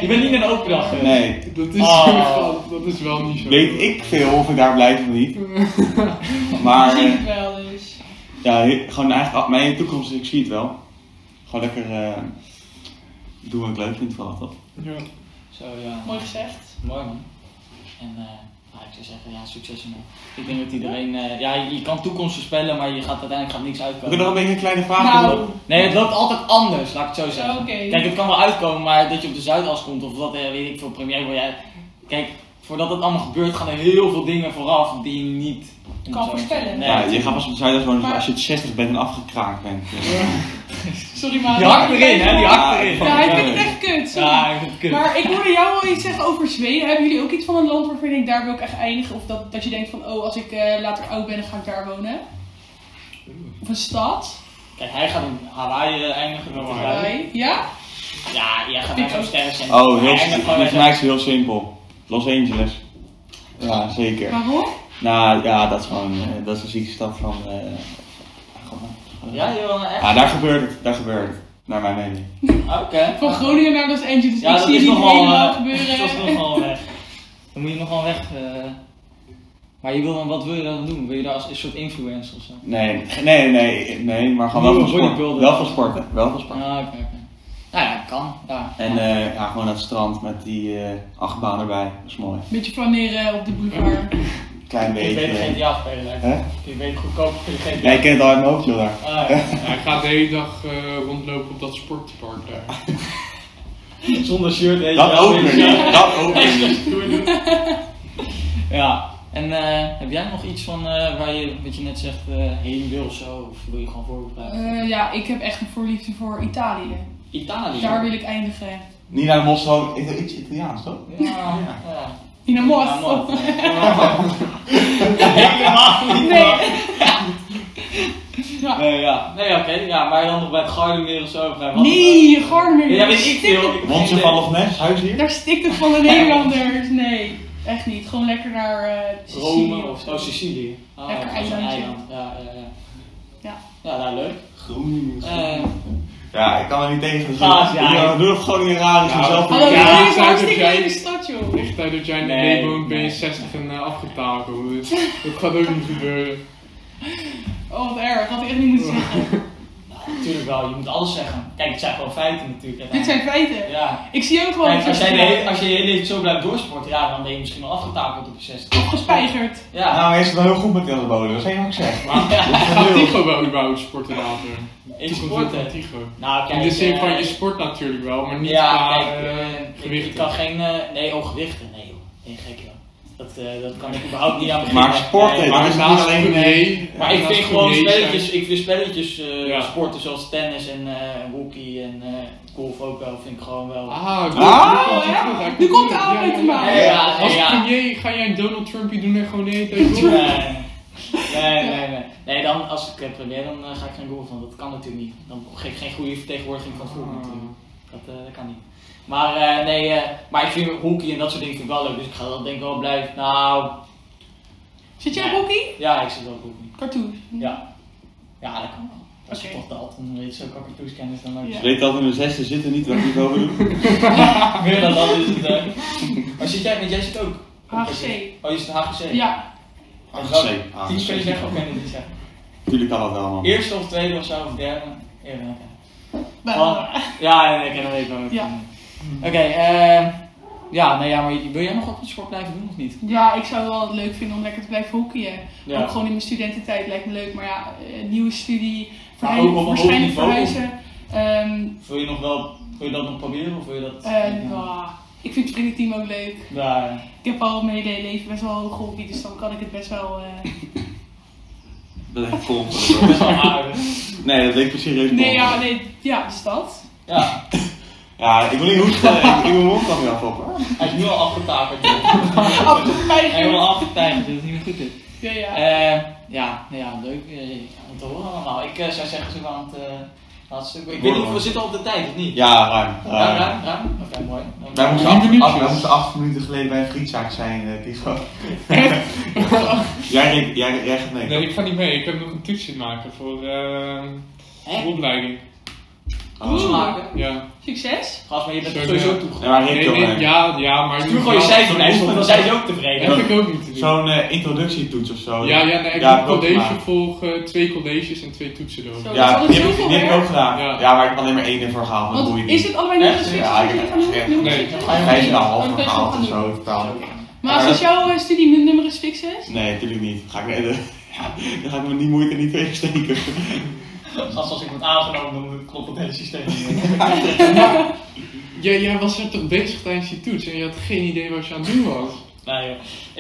B: Je bent niet naar de open dag
A: nee.
B: geweest.
A: Nee.
D: Dat is,
B: Oh.
D: [LAUGHS] dat is wel niet zo.
A: Weet ik veel of ik daar blijf of
B: [LAUGHS]
A: niet. Maar...
G: Ik
A: eh,
G: zie het wel, dus.
A: Ja, he- gewoon eigenlijk al- mijn toekomst, ik zie het wel. Gewoon lekker eh, doen wat ik leuk vind vooral toch?
D: Ja.
B: Zo ja.
G: Mooi gezegd.
B: Mooi man. En eh, nou, ik zou zeggen, ja, succes ermee. Ik denk dat iedereen, eh, ja, je je kan toekomst voorspellen, maar je gaat uiteindelijk gaat niks
A: Heb je nog
B: uitkomen.
A: een beetje een kleine vraag?
G: Nou,
B: Nee, het loopt altijd anders, laat ik het zo
G: zo,
B: zeggen.
G: oké.
B: Kijk, het kan wel uitkomen, maar dat je op de Zuidas komt of dat, eh, weet ik veel, premier wil jij. Kijk, voordat dat allemaal gebeurt, gaan er heel veel dingen vooraf die je niet
G: Kan voorspellen.
A: ja, je gaat pas op de Zuidas wonen
G: Maar-
A: als je 60 bent en afgekraakt bent. Dus-
G: Sorry, maar.
B: Die hakt erin, hè? Die hakt erin.
G: Ja, hij vindt het echt kut. sorry.
B: Ja, ik vind het kut.
G: Maar ik hoorde jou al iets zeggen over Zweden. Hebben jullie ook iets van een land waarvan je denkt, daar wil ik echt eindigen? Of dat, dat je denkt van, oh, als ik eh, later oud ben, dan ga ik daar wonen? Of een stad?
B: Kijk, hij gaat in Hawaii eh, eindigen. dat is
D: Hawaii.
B: duidelijk.
G: Hawaii. Ja?
B: Ja, jij gaat naar zo'n sterrencentrum.
A: Oh, heel
B: Hij eindigt gewoon
A: volgens
B: bij
A: mij is het heel simpel. Los Angeles. Ja, zeker.
G: Waarom?
A: Nou ja, dat is gewoon, eh, dat is een zieke stad van... eh, gewoon-
B: zo'n- Ja, joh, echt?
A: ja, daar gebeurt het, daar gebeurt het. Naar mijn mening.
B: Oké.
G: Van Groningen naar Los Angeles.
B: Ja,
G: ik
B: dat
G: zie
B: is
G: het niet
B: nogal,
G: helemaal
B: eh,
G: gebeuren.
B: dat is nogal weg. Dan moet je nogal weg. eh. Maar je wil dan, wat wil je dan doen? Wil je daar als een soort influencer of zo?
A: Nee, nee, nee, nee, maar gewoon wel
B: Nieuwe
A: van sporten.
B: bodybuilder.
A: Wel van sporten, wel van sporten.
B: Ah, oké, oké. Nou ja, kan. Ja.
A: En eh, ja, gewoon naar het strand met die eh, achtbaan erbij. Dat is mooi.
G: Beetje flaneren op de boulevard.
A: Klein
B: Ik
A: beetje.
B: weet geen
A: eh.
B: GTA spelen.
A: Hè?
B: Ik weet goedkoop kun je geen
A: Ja, ik ken het al uit mijn hoofd, joh. daar.
B: Ah, [LAUGHS]
D: Hij gaat de hele dag eh, rondlopen op dat sportpark
B: [LAUGHS]
D: daar.
B: Zonder shirt weet je
A: Dat
B: wel,
A: ook
B: weet
A: weer
B: je wel.
A: niet. Dat ook weer niet.
B: Ja. En eh, heb jij nog iets van eh, waar je, wat je net zegt, eh, heen wil of zo? Of wil je gewoon voorbereiden?
G: Eh, ja, ik heb echt een voorliefde voor Italië.
B: Italië.
G: Daar wil ik eindigen.
A: Niet naar de mos, gewoon iets iets Italiaans, toch?
B: Ja, ja.
G: In een mos.
B: Ja, mos. Helemaal
G: [LAUGHS]
B: niet.
G: Nee.
B: man.
C: [LAUGHS]
B: Nee, ja. Nee, oké. Ja, maar dan nog bij het Gardenmeer of zo. Of bij wat
G: Nee,
B: dan ook. Ja,
G: Gardener.
B: weet ik veel. Ik-
C: [LAUGHS]
A: Monster van Loch Ness, huis hier.
B: [LAUGHS]
G: Daar stikt het van de Nederlanders. Nee.
C: Echt niet. Gewoon lekker naar eh, Sicilië
B: Rome of oh, Sicilië. Ah,
C: Lekker
B: dat is een
C: eilandje.
B: eiland. Ja, ja, ja.
C: Ja.
B: Ja, nou, leuk.
A: Groningen.
B: Eh,
A: ja, ik kan er niet tegen. Dus
B: Gaas, ja,
A: doe-
B: ja.
A: Doe nog Groningen raar. is
D: Ja,
A: dus zelf
C: Hallo,
D: Ja,
C: ja, is
D: zou
C: een
D: ik
C: hartstikke
D: het
C: leuke stad, joh.
D: Ligt daar dat jij in de
B: Nee,
D: nee, woont, ben je
B: nee.
D: 60 en eh, afgetakeld. Dus dat gaat ook niet gebeuren.
C: Oh, wat erg. Had ik echt niet
B: [LAUGHS]
C: moeten zeggen.
B: natuurlijk wel, je moet alles zeggen. Kijk, het zijn gewoon feiten natuurlijk.
C: Dit zijn feiten.
B: Ja.
C: Ik zie ook wel...
B: Kijk, als jij, de hele, als je je hele leven zo blijft doorsporten, ja, dan ben je misschien wel afgetakeld op je 60.
C: Gespijgerd.
B: Ja.
A: Nou, hij is het wel heel goed met Tilderbode, dat is helemaal gezegd.
D: Maar gaat [LAUGHS] Tigo wel überhaupt sporten later?
B: Ik
D: Toekomst
B: sport
D: van
B: het.
D: Tigo.
B: Nou, kijk.
D: In de zin
B: eh,
D: van je sport natuurlijk wel, maar niet
B: ja,
D: qua
B: kijk,
D: eh,
B: eh, ik-
D: gewichten.
B: Ik kan geen. eh, nee, oh, gewichten. Nee, joh. Nee, gek joh. Dat, eh, dat kan ik überhaupt niet aan beginnen.
A: Maar sporten,
B: Nee,
A: dat
D: maar
A: is niet
D: naast
A: alleen-
D: nee.
B: Maar ik
D: naast
B: vind gewoon
D: Gourmet zijn-
B: spelletjes, ik vind spelletjes eh,
D: Ja.
B: sporten zoals tennis en eh hockey en eh, golf ook wel, vind ik gewoon wel.
D: Ah, goed,
A: Ah,
D: nu komt hij
C: ja.
D: terug, hij
C: Nu komt
D: terug,
C: de oude
D: ja,
C: te maken.
B: Nee, ja, nee,
D: Als
B: ja.
D: premier ga jij een Donald Trumpie doen en gewoon de hele tijd
B: Nee,
D: door?
C: [LAUGHS]
B: nee, nee, nee. Nee, dan als ik eh, premier dan eh, ga ik geen golf, want dat kan natuurlijk niet. Dan geef ik geen goede vertegenwoordiging van het
C: Ah.
B: voetbal natuurlijk. Dat, eh, dat kan niet. Maar eh, nee, eh, maar ik vind hockey en dat soort dingen vind ik wel leuk, dus ik ga dat denk ik wel blijven. Nou,
C: Zit jij op hockey?
B: ja, ik zit wel op hockey.
C: Cartoon.
B: Ja. Ja, dat kan wel. Als je
C: Oké.
B: toch daalt, dan weet je zo kakatoeskennis dan ook.
C: Ja.
A: Ze weet dat we in de zesde zitten niet, dat we niet boven doen.
B: [LAUGHS] Meer dan dat is het.
C: [LAUGHS]
B: eh. Maar zit jij, want jij zit ook.
C: HGC.
B: Oh, je zit HGC?
C: Ja.
A: HGC.
B: Tien kun je
A: HGC.
B: zeggen of kan je het niet zeggen?
A: Tuurlijk kan dat wel, man.
B: Eerste of tweede of zo, of derde? Eerder.
C: Wel.
B: Oh. Ja, nee, ik ken hem even. wel.
C: Ja.
B: Oké, eh, ja, nee, ja, maar wil jij nog wat met sport blijven doen of niet?
C: Ja, ik zou wel het leuk vinden om lekker te blijven hockeyen.
B: Ja.
C: Ook gewoon in mijn studententijd lijkt me leuk. Maar ja, eh, nieuwe studie,
B: Maar
C: verhuizen,
B: ook op een hoog
C: waarschijnlijk
B: niveau?
C: verhuizen. Ehm
B: Wil je nog wel, wil je dat nog proberen of wil je dat?
C: eh, nou, ik vind het vriendenteam ook leuk.
B: Daar.
C: Ik heb al mijn hele leven best wel hoge hobby, dus dan kan ik het best wel... eh,
A: Dat lijkt vol.
B: Best wel aardig.
A: [LAUGHS] Nee, dat leek me serieus
C: Nee,
A: bom.
C: ja, nee, ja,
B: [LAUGHS]
C: dus dat.
B: Ja,
A: Ja, ik wil niet hoesten, ik wil mijn mond kan weer afvoppen.
B: hij is nu al afgetakeld.
C: Afgepijgerd.
B: Helemaal afgetakeld, dus dat is niet meer goed dit.
C: Ja, ja.
B: Eh, ja, nou ja, leuk eh, om te horen allemaal. Ik eh, zou zeggen, zo aan het eh, laatste stuk. Ik weet niet of we zitten op de tijd of niet.
A: Ja, ruim.
B: Ruim,
A: ruim.
B: ruim, ruim. Oké, mooi. Dan-
A: Wij moesten,
D: Drie
A: acht, acht-
D: minuutjes.
A: wij moesten acht minuten geleden bij een frietzaak zijn, eh, Tigo. jij, reed- jij, jij gaat mee.
D: Nee,
A: toch?
D: ik ga niet mee. Ik heb nog een toetsje te maken voor eh,
B: Hè?
D: opleiding.
A: Oh.
B: Toets maken.
D: Ja.
C: Succes.
B: Gast, maar je bent
D: Zo,
B: er sowieso
D: ja.
B: toegegaan.
A: Ja, maar
D: Nee,
A: Rick
D: nee,
A: nee,
D: ja, ja, maar...
B: Toen gooi je cijfer
A: zo'n
B: naar want dan zijn ze ook tevreden.
D: Dat heb ik ook niet te doen.
A: Zo'n eh, introductietoets of zo.
D: Ja, ja, nee, ik
A: Ja,
D: heb
A: dat
D: college
A: maar.
D: volgen, twee colleges en twee toetsen erover.
C: Zo.
A: Ja,
C: Dat
A: die
C: is
A: heb, ik-
C: zoveel
A: die heb ik
C: werk.
A: ook gedaan.
D: Ja.
A: Ja. maar ik heb alleen maar één ervoor gehaald, dat doe je
C: Want
A: niet.
C: is het allebei niet
B: Echt?
C: als ik
A: Ja, ik heb echt-
C: gaan doen?
D: Nee.
A: Vijf en een half
C: Oh, dat is
A: gehaald
C: wel
A: of
C: genoeg.
A: zo in totaal.
C: Maar als is jouw eh, studie nu nummer is fixes?
A: Nee, natuurlijk niet. Ga ik me, [LAUGHS] dan ga ik me niet moeite niet [LAUGHS] tegen steken.
B: Gast, [LAUGHS] als ik word aangenomen, dan klopt het hele systeem niet
A: [LAUGHS]
B: meer.
D: Jij, jij was er toch bezig tijdens je toets en je had geen idee wat je aan het doen was?
B: Nee joh.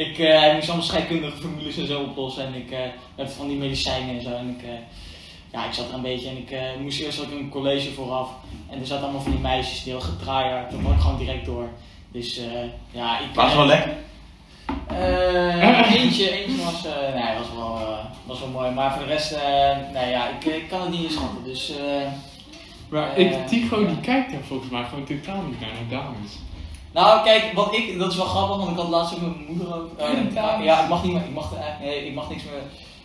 B: Ik eh, heb moest allemaal scheikundige formules en zo oplossen en ik eh met van die medicijnen en zo. En ik, eh, ja, ik zat er een beetje en ik eh, moest eerst ook een college vooraf. En er zaten allemaal van die meisjes die heel getraaid Toen kwam ik gewoon direct door. Dus eh, ja, ik...
A: Was wel
B: eh,
A: lekker.
B: Eh, eentje, eentje was, eh, nee, was wel, eh, was wel mooi. Maar voor de rest, eh, nee ja, ik, ik kan het niet inschatten. Dus eh,
D: Maar
B: Eh,
D: ik, Tigo
B: ja.
D: die kijkt daar volgens mij gewoon totaal niet naar, naar dames.
B: Nou, kijk, wat ik, dat is wel grappig, want ik had laatst ook met mijn moeder ook. eh,
C: Oh, dames.
B: ja, ik mag niet meer, ik mag, eh, nee, ik mag niks meer,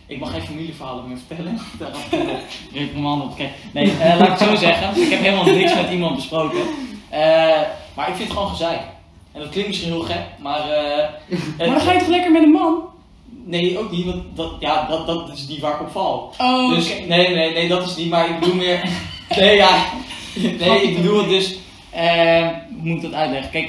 B: ik mag geen familieverhalen meer vertellen. [LAUGHS] Daar had ik op. Nu heb ik mijn handen op. Kijk, nee, eh, laat ik het zo zeggen. Ik heb helemaal niks met iemand besproken. Eh, maar ik vind het gewoon gezeik. En dat klinkt misschien heel gek, maar. eh,
C: Maar dan
B: het-
C: ga je toch lekker met een man?
B: Nee, ook niet, want dat, ja, dat, dat is die waar ik op val.
C: Oh, oké.
B: Dus nee, nee, nee, dat is niet, maar ik bedoel meer. [LAUGHS] Nee, ja. Nee, ik bedoel het dus. eh, hoe moet ik dat uitleggen? Kijk,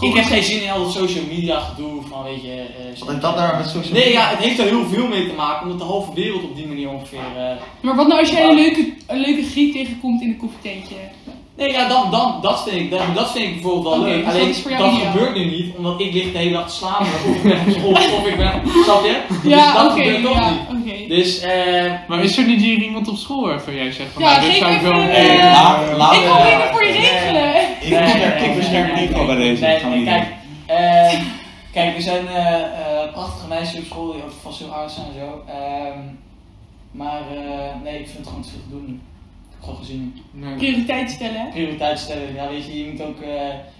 B: ik heb geen zin in al dat social media gedoe van weet je. eh,
A: Wat heeft dat daar met social
B: Nee, ja, het heeft er heel veel mee te maken, omdat de halve wereld op die manier ongeveer. eh,
C: Maar wat nou als jij een leuke, een leuke griet tegenkomt in een koffietentje?
B: Nee, ja, dan, dan, dat, vind ik, dat, dat vind ik bijvoorbeeld wel
C: Oké,
B: leuk.
C: dus
B: Alleen
C: dat is voor jou
B: dat
C: ideaal.
B: gebeurt nu niet, omdat ik lig de hele dag te slapen. Of ik ben op school, of ik
C: [LAUGHS]
B: ben. Snap je? Dus dat
C: Ja, oké,
B: gebeurt ook
C: ja,
B: niet.
C: oké.
B: Dus, eh.
D: Maar is er niet hier iemand op school waarvan jij zegt van
C: Ja,
D: nou, dit
C: geef
D: zou ik wel
C: even,
D: een
A: Hey,
C: eh,
A: laat, laat,
C: Ik
A: eh,
C: kan dingen voor je
B: nee.
C: regelen.
A: Ik bescherm- ik bescherm
B: nee,
A: Nico bij
B: nee,
A: deze.
B: nee,
A: Dat gaan we niet
B: kijk,
A: doen.
B: eh, kijk, er zijn eh, eh, prachtige meisjes op school die ook vast heel oud zijn en zo. ehm, maar eh, nee, ik vind het gewoon te veel te doen nu. Ik heb gewoon gezien.
D: Nee.
C: Prioriteit stellen.
B: Prioriteit stellen, ja weet je, je moet ook... eh,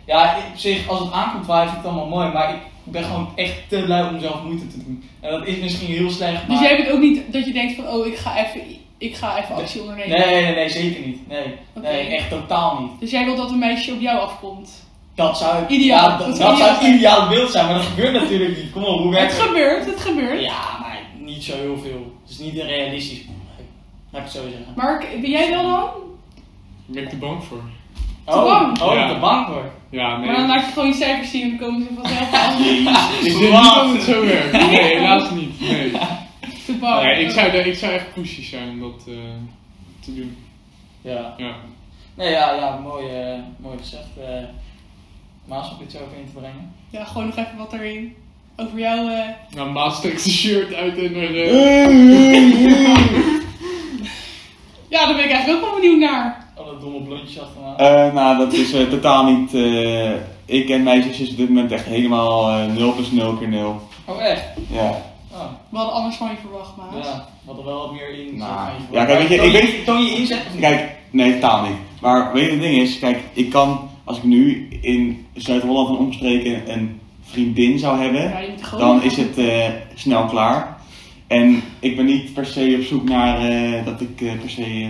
B: ja, op zich, als het aankomt waar, vind ik het allemaal mooi, maar ik, Ik ben gewoon echt te lui om zelf moeite te doen. En dat is misschien heel slecht, maar...
C: Dus jij bent ook niet dat je denkt van, oh, ik ga even, ik ga even actie ondernemen.
B: nee, nee, nee, nee, zeker niet. Nee.
C: Oké.
B: nee, echt totaal niet.
C: Dus jij wil dat een meisje op jou afkomt.
B: Dat zou ik-
C: Ideaal.
B: ja, dat,
C: Dat
B: dat,
C: ideaal
B: zou het
C: zijn.
B: ideaal beeld zijn, maar dat gebeurt natuurlijk niet. Kom op, hoe
C: Het
B: werkt het?
C: gebeurt, het gebeurt.
B: Ja, maar niet zo heel veel. Het is niet een realistisch. Laat ik het zo zeggen.
C: Maar ben jij wel dan?
D: Daar ben ik te bang voor.
B: Oh,
C: bang.
B: oh
D: Ja.
B: te bang hoor.
D: Ja, nee.
C: Maar dan laat je gewoon je cijfers zien en dan komen ze vanzelf aan.
D: [LAUGHS] Ik denk niet dat het zo werkt. Nee,
C: [LAUGHS]
D: helaas niet. Nee.
C: Te bang.
D: Nee, ik, zou, daar- ik zou echt pushy zijn om dat eh, te doen.
B: Ja.
D: Ja.
B: Nee, ja, ja, mooi, eh, mooi gezegd. eh Maas om dit zo even in te brengen.
C: Ja, gewoon nog even wat erin. Over jou. eh,
D: Nou, Maas trekt zijn shirt uit en er... eh,
C: [LAUGHS] Ja, daar ben ik eigenlijk ook wel benieuwd naar.
B: Oh, dat domme blondje achterna.
A: Eh, nou, dat is eh, totaal niet. eh, ik en meisjes is op dit moment echt helemaal eh 0 plus 0 keer 0.
B: Oh, echt?
A: Ja.
B: Oh,
C: We hadden anders van je verwacht, Maas.
B: ja. Wat er wel wat meer in.
A: Nou,
B: zit.
A: ja, kijk, weet je,
B: Toon
A: ik weet-
B: Toon je inzet of niet?
A: Kijk, nee, totaal niet. Maar weet je, het ding is, kijk, ik kan, als ik nu in Zuid-Holland en omstreken een vriendin zou hebben,
C: Ja, je moet gewoon-
A: dan is het eh, snel klaar. En ik ben niet per se op zoek naar eh, dat ik eh, per se eh,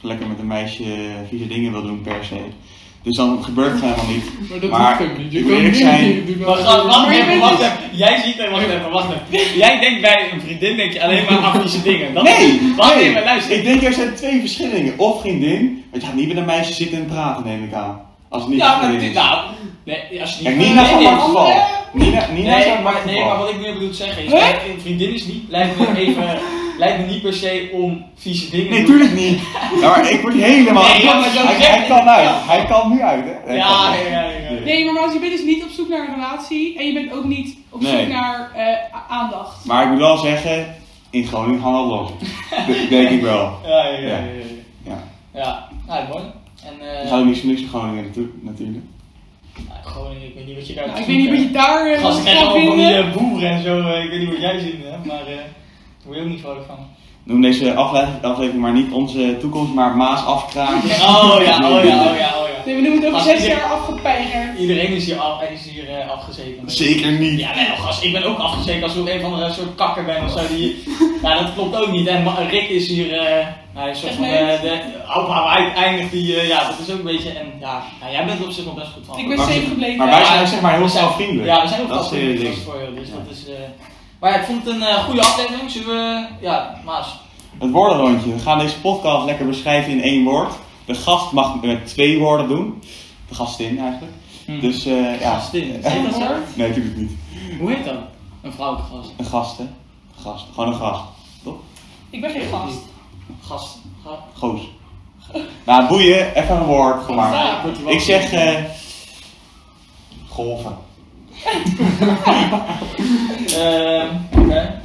A: lekker met een meisje eh, vieze dingen wil doen, per se. Dus dan gebeurt het helemaal niet.
D: Maar dat
A: Maar,
D: hoeft ook niet. Je
A: ik
D: kan
A: moet
D: dingen
A: eerlijk zijn.
D: tegen doen.
B: Wacht, wacht, wacht
C: Maar je
B: even,
C: bent
B: wacht
C: dus-
B: even. Jij ziet hem, wacht even, wacht even. Jij denkt bij een vriendin denk je alleen
A: [LAUGHS]
B: maar afvieze dingen. Dat
A: Nee!
B: Wacht
A: nee.
B: even, luister.
A: Ik denk er zijn twee verschillende dingen. Of vriendin, want je gaat niet met een meisje zitten en praten, neem ik aan. Als het niet
B: Ja,
A: vriendin
B: maar
A: is.
B: dit- nou, nee, als je
A: Kijk,
B: niet
A: Nina is
B: vriendin
A: een
B: is-
A: geval. Nina, Nina is
B: Nee,
A: een
B: maar, nee, maar
A: geval.
B: wat ik meer bedoel te zeggen is,
C: Huh?
B: kijk, een vriendin is niet, lijkt me
C: [LAUGHS]
B: even, lijkt me niet per se om vieze dingen
A: Nee,
B: te doen.
A: tuurlijk niet. Ja, maar ik word helemaal...
B: Nee, ja, maar zo
A: hij,
B: zeg
A: hij
B: ik
A: kan
B: het
A: uit.
B: wel.
A: Hij kan nu uit, hè? Hij kan
B: Ja,
A: uit.
B: ja, ja, ja, ja.
C: Nee, maar Maas, je bent dus niet op zoek naar een relatie. En je bent ook niet op
A: Nee.
C: zoek naar eh, a- aandacht.
A: Maar ik moet wel zeggen, in Groningen gaan we
B: [LAUGHS]
A: los. Dat denk ik wel.
B: Ja, ja, ja, ja. ja.
A: Ja.
B: Ja, nou, mooi. En, eh,
A: Dan gaat ook niks voor niks in Groningen natu- natuurlijk.
B: nou, gewoon, ik weet niet wat je daar
C: Nou, ik weet niet wat je daar eh,
B: Gast,
C: van
B: ik krijg
C: gaat
B: allemaal van die
C: vinden.
B: eh, boeren en zo, eh, ik weet niet wat jij zin hebt, maar eh, daar word je ook niet vrolijk
C: [LAUGHS]
B: van.
A: Noem deze afle- aflevering maar niet onze toekomst, maar Maas afkraken.
B: Oh ja, oh ja, oh ja, oh ja.
C: Nee, we noemen het over
B: Als
C: zes
B: je-
C: jaar afgepeigerd.
B: Iedereen is hier, af, is hier eh, afgezeken.
A: Zeker niet.
B: Ja, nee, gast, ik ben ook afgezeken als ik op een van de eh, soort kakker ben of zo. Die, [LAUGHS] nou, dat klopt ook niet. En Ma- Rick is hier, eh, hij is soort van
C: Techneut.
B: eh, de opa waar hij eindigt. Die, eh, ja, dat is ook een beetje. En ja, nou, jij bent er op zich nog best goed van.
C: Ik ben
A: Maar-
C: safe gebleven.
A: Maar wij zijn zeg maar heel zelfvriendelijk.
B: Ja, we zijn ook
A: Dat
B: vast
A: is het hele ding.
B: voor je. Dus
A: Ja.
B: dat is. eh, maar ja, ik vond het een eh, goede aflevering. Zullen we. Ja, Maas.
A: Het woordenrondje. We gaan deze podcast lekker beschrijven in één woord. De gast mag het met twee woorden doen. De gastin eigenlijk.
B: Hm.
A: Dus eh ja.
B: Gastin. Heet dat zo?
A: Nee, natuurlijk niet.
B: Hoe heet dat? Een vrouwelijke gast.
A: Een gast, hè? Een gast. Gewoon een gast.
C: Ik ben geen gast.
B: Gast. Ga-
A: Goos. Nou, boeien. Even een woord gemaakt.
B: Ja, wordt er wel
A: Ik zeg... eh golven.
B: Ehm, oké.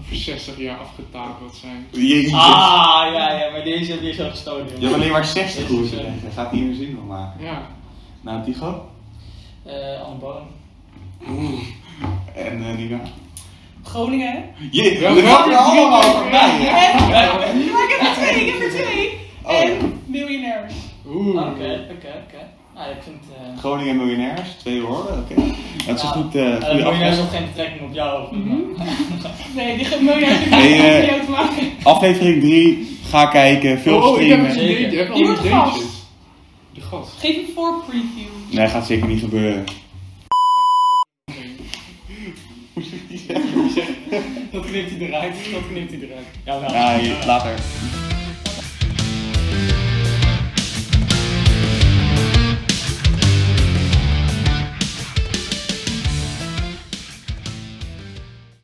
D: Over 60 jaar afgetakeld zijn.
A: Jeetje.
B: Ah, ja, ja, maar deze heb je zo gestolen.
A: Je hebt
B: jongen.
A: alleen maar 60
B: Jezus,
A: goeie
B: ja.
A: zeggen. Dat gaat niet meer zin van maken.
D: Ja.
A: Nou, Tigo.
B: Eh, Anne Boon.
A: En eh Nina.
C: Groningen, hè?
A: Jee,
D: Ja,
A: we gaan
D: welke
A: er allemaal
D: drie?
A: voorbij. hè?
C: Maar ik heb er twee, ik heb er twee.
A: Oh, ja.
C: En miljonairs.
D: Oeh.
B: Oké, oké, oké. Nou, ik vind. eh
A: Groningen miljonairs, twee woorden, oké. Dat is een
B: Ja.
A: goed, eh
B: eh,
A: goede
B: miljonairs
A: aflevering.
B: heeft geen betrekking op jou. of- [LAUGHS]
C: Nee, die gaat miljonairs heeft
A: Nee,
C: niks met
A: eh,
C: jou te maken.
A: Aflevering 3, ga kijken,
D: Oh,
A: veel
D: oh, ik heb
A: streamen.
D: een
B: Zeker.
D: idee. Je hebt
C: Die
D: allemaal
C: wordt gast.
D: ideetjes. De gast.
C: Geef een voorpreview.
A: Nee, gaat zeker niet gebeuren.
B: Dat knipt hij eruit, dat knipt hij eruit. Jawel.
A: Ja, je- later.